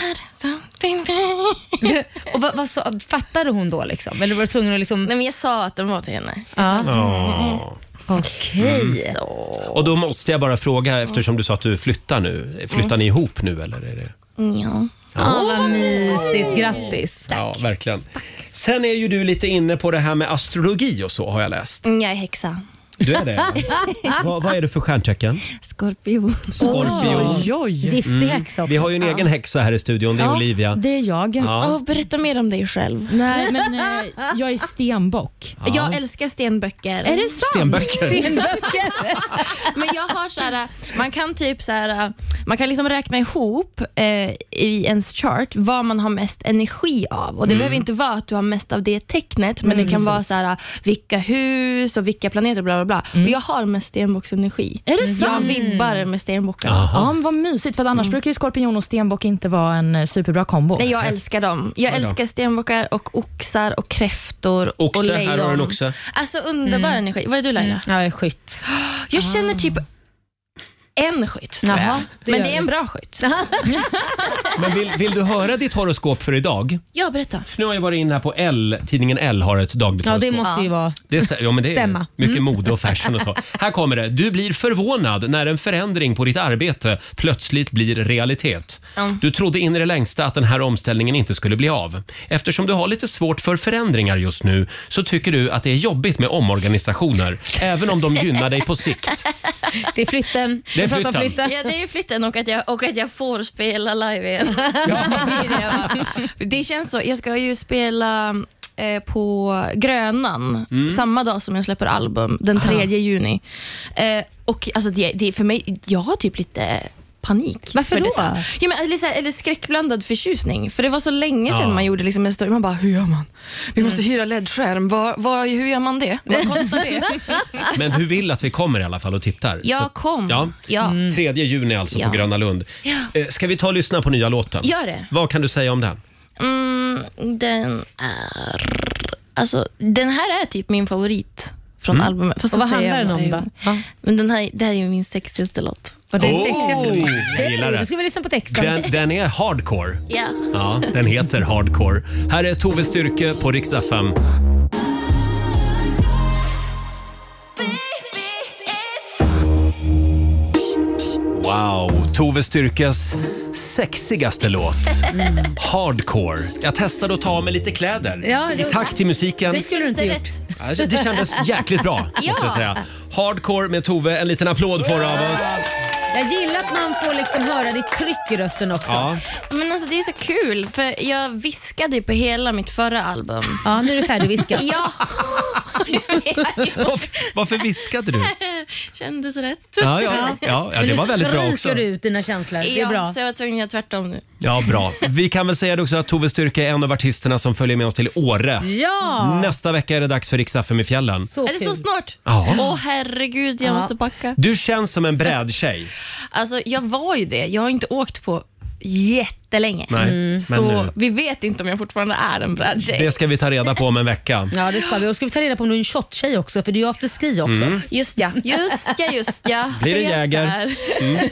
S15: här.
S2: och vad, vad sa, fattade hon då liksom? Eller var du tvungen att liksom... Nej
S15: men jag sa att den var till henne.
S3: Mm.
S1: Ja.
S2: Okej.
S1: Mm. Och då måste jag bara fråga, eftersom du sa att du flyttar nu. Flyttar
S15: Mm.
S1: ni ihop nu eller? Är det...
S15: Ja.
S2: Ah, vad mysigt, grattis.
S1: Ja, verkligen. Sen är ju du lite inne på det här med astrologi och så har jag läst.
S15: Mm, Jag är häxa.
S1: Du är det? Vad, vad är du för stjärntecken?
S15: Skorpion.
S1: Skorpion.
S3: Oj, oj.
S1: Mm. Vi har ju en egen häxa här i studion, det är
S3: Ja,
S1: Olivia.
S3: Det är jag.
S1: Ja. Åh,
S15: berätta mer om dig själv.
S3: Nej, men eh, jag är stenbock.
S1: Ja. Jag
S15: älskar stenböcker.
S3: Är det sant?
S1: Stenböcker.
S15: Men jag har så här, man kan typ så här, man kan liksom räkna ihop eh, i ens chart vad man har mest energi av. Och Det
S14: Mm.
S15: behöver inte vara att du har mest av det tecknet, men
S14: Mm,
S15: det kan vara
S14: precis.
S15: så här, eh, vilka hus och vilka planeter bla bla bla. Och jag har mest stenbocksenergi.
S3: Är det
S15: Jag
S3: sant?
S15: vibbar med stenbocken.
S3: Ja, men vad mysigt, för att
S1: Mm.
S3: annars brukar ju skorpion och stenbock inte vara en eh, superbra kombo.
S15: Nej, jag älskar dem. Jag
S3: Oj då.
S15: älskar stenbockar och oxar och kräftor och
S1: Oxe,
S15: lejon.
S1: här har du en oxe.
S15: Alltså underbar
S1: Mm.
S15: energi. Vad är du Laila?
S2: Jag är skytt.
S15: Jag känner typ en skytt tror
S1: Jaha,
S15: jag.
S1: det
S15: Men
S1: gör
S15: det är
S1: du.
S15: en bra skytt.
S1: Men vill, vill du höra ditt horoskop för idag?
S15: ja, berätta.
S1: Nu har jag varit inne här på L, tidningen L har ett dagligt
S2: Ja, det
S1: horoskop.
S2: måste ju vara...
S1: Det stä- ja, men det
S2: Stämma.
S1: Är mycket
S2: Mm.
S1: mode och fashion och så. Här kommer det. Du blir förvånad när en förändring på ditt arbete plötsligt blir realitet.
S14: Mm.
S1: Du trodde in i det längsta att den här omställningen inte skulle bli av. Eftersom du har lite svårt för förändringar just nu så tycker du att det är jobbigt med omorganisationer, även om de gynnar dig på sikt.
S2: Det är flytten.
S1: Det är Vi pratar om flytten. flytten.
S15: Ja, det är flytten och att jag, och att jag får spela live igen. Det, är det jag bara- det känns så. Jag ska ju spela eh, på Grönan
S14: Mm.
S15: samma dag som jag släpper album, den 3
S14: Aha.
S15: juni. Eh, och alltså det, det, är för mig, Jag har typ lite panik.
S2: Varför
S15: för
S2: då?
S15: detta. Ja, men, eller, så här, eller skräckblandad förtjusning. För det var så länge sedan
S2: Ja. Mm.
S15: man gjorde liksom en story. Man bara, hur gör man? Vi måste hyra LED-skärm. Vad- vad- hur gör man det? Vad kostar det?
S1: Men du vill att vi kommer i alla fall och tittar?
S15: Ja,
S1: Så-
S15: kom.
S1: Ja.
S15: Ja. Mm.
S1: 3 juni alltså
S15: Ja.
S1: på Gröna Lund.
S15: Ja.
S1: Eh, Ska vi ta och lyssna på nya låten?
S15: Gör det.
S1: Vad kan du säga om den?
S15: Mm, den är... Alltså, den här är typ min favorit från
S1: Mm.
S15: albumet.
S2: Och vad
S15: så säger jag
S2: handlar den om
S15: varje gång. Men den här, det här är ju min sexigaste låt.
S2: Och
S1: den Oh, sexigaste låten. jag gillar det.
S2: Då ska vi lyssna på texten.
S1: Den, den är hardcore.
S15: Ja.
S1: Ja, den heter Hardcore. Här är Tove Styrke på Rix FM. Wow, Tove Styrkes sexigaste låt. Hardcore. Jag testade att ta av mig lite kläder
S2: Ja,
S1: i
S2: det-
S1: takt till musiken.
S2: Det skulle du inte gjort.
S1: Ja, Det kändes jäkligt bra,
S2: Ja.
S1: måste jag säga. Hardcore med Tove. En liten applåd får du av oss.
S2: Jag gillar att man får liksom höra ditt tryck i rösten också.
S1: Ja.
S15: Men alltså det är så kul, för jag viskade ju på hela mitt förra album.
S2: Ja, nu är du färdigviskad.
S15: ja.
S1: Varför, varför viskade du?
S15: Kändes rätt.
S1: Ja, ja, ja, ja, det var väldigt bra
S2: Stryker
S1: också.
S2: du ut dina känslor. Det är
S15: ja,
S2: bra.
S15: så jag var tvungen att göra tvärtom nu.
S1: Ja, bra. Vi kan väl säga det också att Tove Styrke är en av artisterna som följer med oss till Åre.
S15: Ja!
S1: Nästa vecka är det dags för Rix FM i fjällen.
S15: Mm. är det så snart?
S1: Ja.
S15: Åh herregud, jag
S1: Ja.
S15: måste backa.
S1: Du känns som en brädtjej.
S15: Alltså jag var ju det. Jag har inte åkt på jättelänge.
S1: Nej, Mm. men
S15: Så
S1: nu-
S15: vi vet inte om jag fortfarande är en brädtjej.
S1: Det ska vi ta reda på om en vecka.
S2: Ja, det ska vi. Och ska vi ta reda på om du är en shot-tjej också, för du är ju afterski också.
S1: Mm.
S15: Just ja, just ja, just ja.
S1: Blir det
S15: Ses
S1: Jäger?
S15: där.
S1: Mm.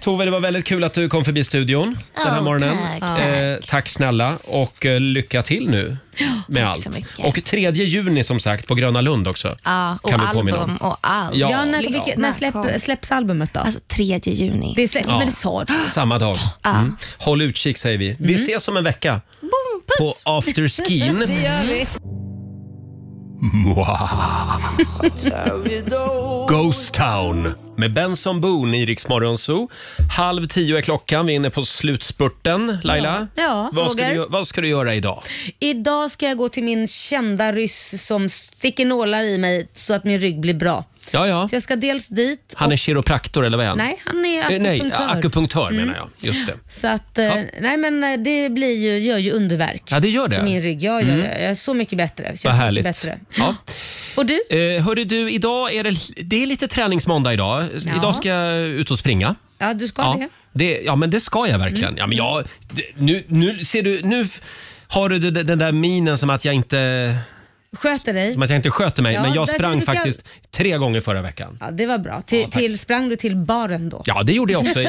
S1: Tove, det var väldigt kul att du kom förbi studion den här
S15: Ja,
S1: morgonen.
S15: tack, tack.
S1: Eh, tack snälla och eh, lycka till nu med
S15: tack
S1: allt.
S15: så mycket.
S1: och 3 juni som sagt på Gröna Lund också.
S15: Ja, och
S1: Kan vi påminna
S15: album
S1: om.
S15: och allt.
S1: Ja.
S2: Ja, när,
S1: Ja.
S2: vilket- när släpp, släpps albumet då? Alltså
S15: 3 juni.
S2: Det släpps,
S1: Ja.
S2: men det sa du.
S1: Samma dag. Mm. Håll utkik säger vi.
S15: Mm.
S1: Vi ses om en vecka. På afterskin.
S2: Det gör
S1: Mm.
S2: vi.
S1: Ghost Town med Benson Boone i Rix Morgon Zoo. Halv tio är klockan, vi är inne på slutspurten. Laila,
S2: Ja. Ja,
S1: vad, ska
S2: Roger.
S1: du, gö- vad ska du göra idag?
S2: Idag ska jag gå till min kända ryss som sticker nålar i mig så att min rygg blir bra.
S1: Ja, ja.
S2: Så jag ska dels dit.
S1: Han är kiropraktor eller vad är han?
S2: Nej, han är
S1: Eh, Nej,
S2: akupunktör.
S1: akupunktör
S2: Mm.
S1: menar jag. Just det.
S2: Så att, eh, nej men eh, det blir ju, gör ju underverk.
S1: Ja, det gör det.
S2: För min rygg. Ja, ja,
S1: Mm.
S2: ja, jag är så mycket bättre. Känns
S1: Vad
S2: mycket
S1: härligt.
S2: Bättre.
S1: Ja.
S2: Och du?
S1: Eh, hörru du, idag är det, det är lite träningsmåndag idag.
S2: Ja.
S1: Idag ska jag ut och springa.
S2: Ja, du ska
S1: Ja,
S2: det.
S1: det, ja men det ska jag verkligen.
S2: Mm.
S1: Ja, men jag, det, nu, nu ser du, nu f- har du d- den där minen som att jag inte,
S2: Sköter dig.
S1: som att jag inte sköter mig.
S2: Ja,
S1: men jag
S2: därför
S1: sprang
S2: brukar-
S1: faktiskt tre gånger förra veckan.
S2: Ja, det var bra. Till, till, sprang du till baren då?
S1: Ja, det gjorde jag också. I,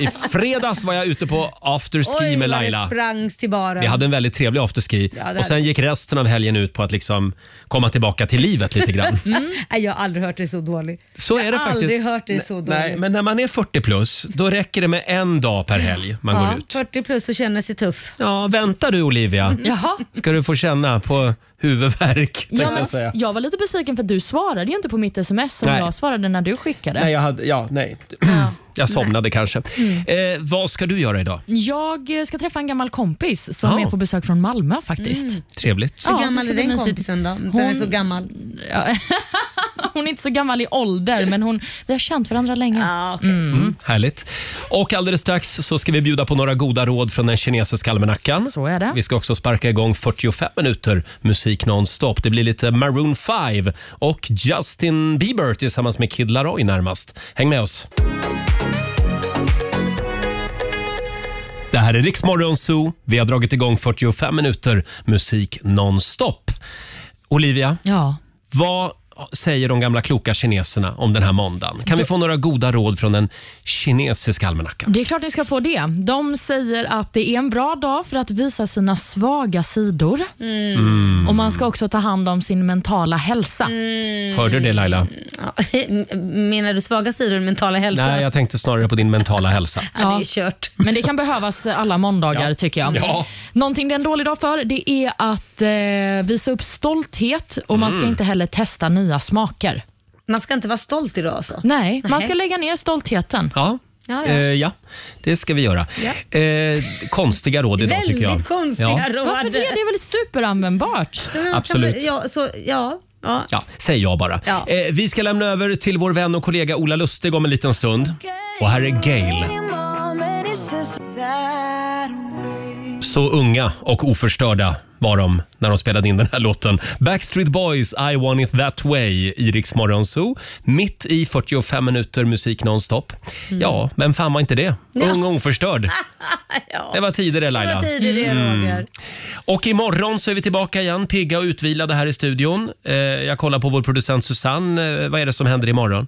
S1: i fredags var jag ute på afterski
S2: Oj,
S1: med
S2: vad det
S1: Laila.
S2: sprangs till baren.
S1: Vi hade en väldigt trevlig afterski
S2: Ja, det
S1: och sen
S2: hade-
S1: gick resten av helgen ut på att liksom komma tillbaka till livet lite grann.
S2: Mm. Nej, Jag har aldrig hört dig så dålig.
S1: Så är det
S2: jag har
S1: faktiskt.
S2: aldrig hört dig så dålig.
S1: Nej, men när man är 40 plus, då räcker det med en dag per helg man
S2: ja,
S1: går ut.
S2: 40 plus och känner sig tuff.
S1: Ja, vänta du Olivia.
S3: Jaha.
S1: Ska du få känna på huvudvärk, tänkte
S3: Ja, men,
S1: jag säga.
S3: jag var lite besviken för att du svarade ju inte på mitt sms som
S1: Nej.
S3: jag svarade när du skickade.
S1: Nej, jag hade, ja, nej. Jag somnade kanske.
S3: Mm.
S1: Eh, vad ska du göra idag?
S3: Jag eh, ska träffa en gammal kompis som
S1: Ja.
S3: är på besök från Malmö faktiskt.
S15: Mm.
S1: Trevligt.
S2: Hur
S3: Ja, det
S2: gammal
S3: ska
S2: är
S3: bli
S2: den
S3: mysigt.
S2: kompisen då? Den är
S3: Hon-
S2: så gammal.
S3: Hon är inte så gammal i ålder, men hon, vi har känt varandra länge.
S1: Mm, härligt. Och alldeles strax så ska vi bjuda på några goda råd från den kinesiska almanackan.
S3: Så är det.
S1: Vi ska också sparka igång 45 minuter musik nonstop. Det blir lite Maroon 5 och Justin Bieber tillsammans med Kid Laroi närmast. Häng med oss. Det här är Riksmorgon Zoo. Vi har dragit igång 45 minuter musik nonstop. Olivia,
S3: Ja.
S1: vad säger de gamla kloka kineserna om den här måndagen? Kan vi få några goda råd från den kinesiska almanackan?
S3: Det är klart ni ska få det. De säger att det är en bra dag för att visa sina svaga sidor.
S1: Mm. Mm.
S3: Och Man ska också ta hand om sin mentala hälsa.
S2: Mm.
S1: Hörde du det Laila?
S2: Menar du svaga sidor i den mentala hälsan?
S1: Nej, jag tänkte snarare på din mentala hälsa.
S3: Ja, det är kört. Men det kan behövas alla måndagar tycker jag.
S1: Ja.
S3: Någonting det är en dålig dag för det är att eh, visa upp stolthet och man ska
S2: Mm.
S3: inte heller testa nya smaker.
S2: Man ska inte vara stolt idag alltså?
S3: Nej, man
S2: Nej.
S3: ska lägga ner stoltheten.
S1: Ja.
S2: Ja,
S1: Eh, ja, det ska vi göra. Eh, konstiga råd idag tycker jag.
S2: Väldigt konstiga
S1: Ja.
S2: råd.
S3: Varför det? Det är väl superanvändbart?
S1: Absolut.
S2: Ja, så, ja. Ja.
S1: Ja, säger jag bara.
S2: Ja.
S1: Eh, vi ska lämna över till vår vän och kollega Ola Lustig om en liten stund. Och här är Gail Så unga och oförstörda var de när de spelade in den här låten. Backstreet Boys, I want it that way i Rix Morgon Zoo. Mitt i 45 minuter musik nonstop.
S14: Mm.
S1: Ja, vem fan var inte det? Ung och oförstörd. Det var tider det Laila. Mm. Och imorgon så är vi tillbaka igen, pigga och utvilade här i studion. Eh, jag kollar på vår producent Susanne. Eh, vad är det som händer imorgon?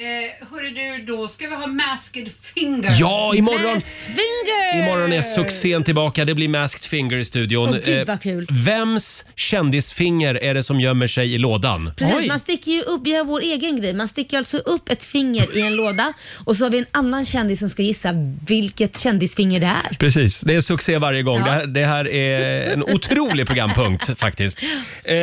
S16: Eh, hörru du, då ska vi ha Masked Finger.
S1: Ja, imorgon-
S16: Masked Finger!
S1: Imorgon är succén tillbaka. Det blir Masked Finger i studion.
S2: Åh, gud, vad
S1: Eh,
S2: kul.
S1: Vems kändisfinger är det som gömmer sig i lådan?
S2: Precis, man sticker ju upp, vi gör vår egen grej, man sticker alltså upp ett finger i en låda och så har vi en annan kändis som ska gissa vilket kändisfinger det är.
S1: Precis, det är succé varje gång.
S2: Ja.
S1: Det, här, det här är en otrolig programpunkt faktiskt. Eh,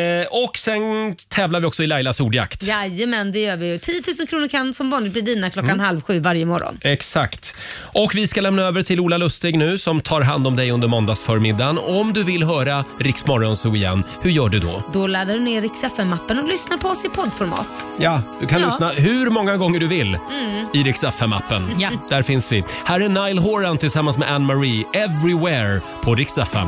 S1: och sen tävlar vi också i Lailas ordjakt.
S2: Jajamän, det gör vi ju. 10 000 kronor kan som vanligt bli dina klockan
S1: Mm.
S2: halv sju varje morgon.
S1: Exakt. Och vi ska lämna över till Ola Lustig nu som tar hand om dig under måndagsförmiddagen. Om du vill höra Rix Morgonzoo igen, hur gör du då?
S2: Då laddar du ner Rix FM-appen och lyssnar på oss i poddformat.
S1: Ja, du kan
S2: Ja.
S1: lyssna hur många gånger du vill
S2: Mm.
S1: i Rix FM-appen.
S2: Ja.
S1: Där finns vi. Här är Nile Horan tillsammans med Anne Marie, Everywhere på Rix FM.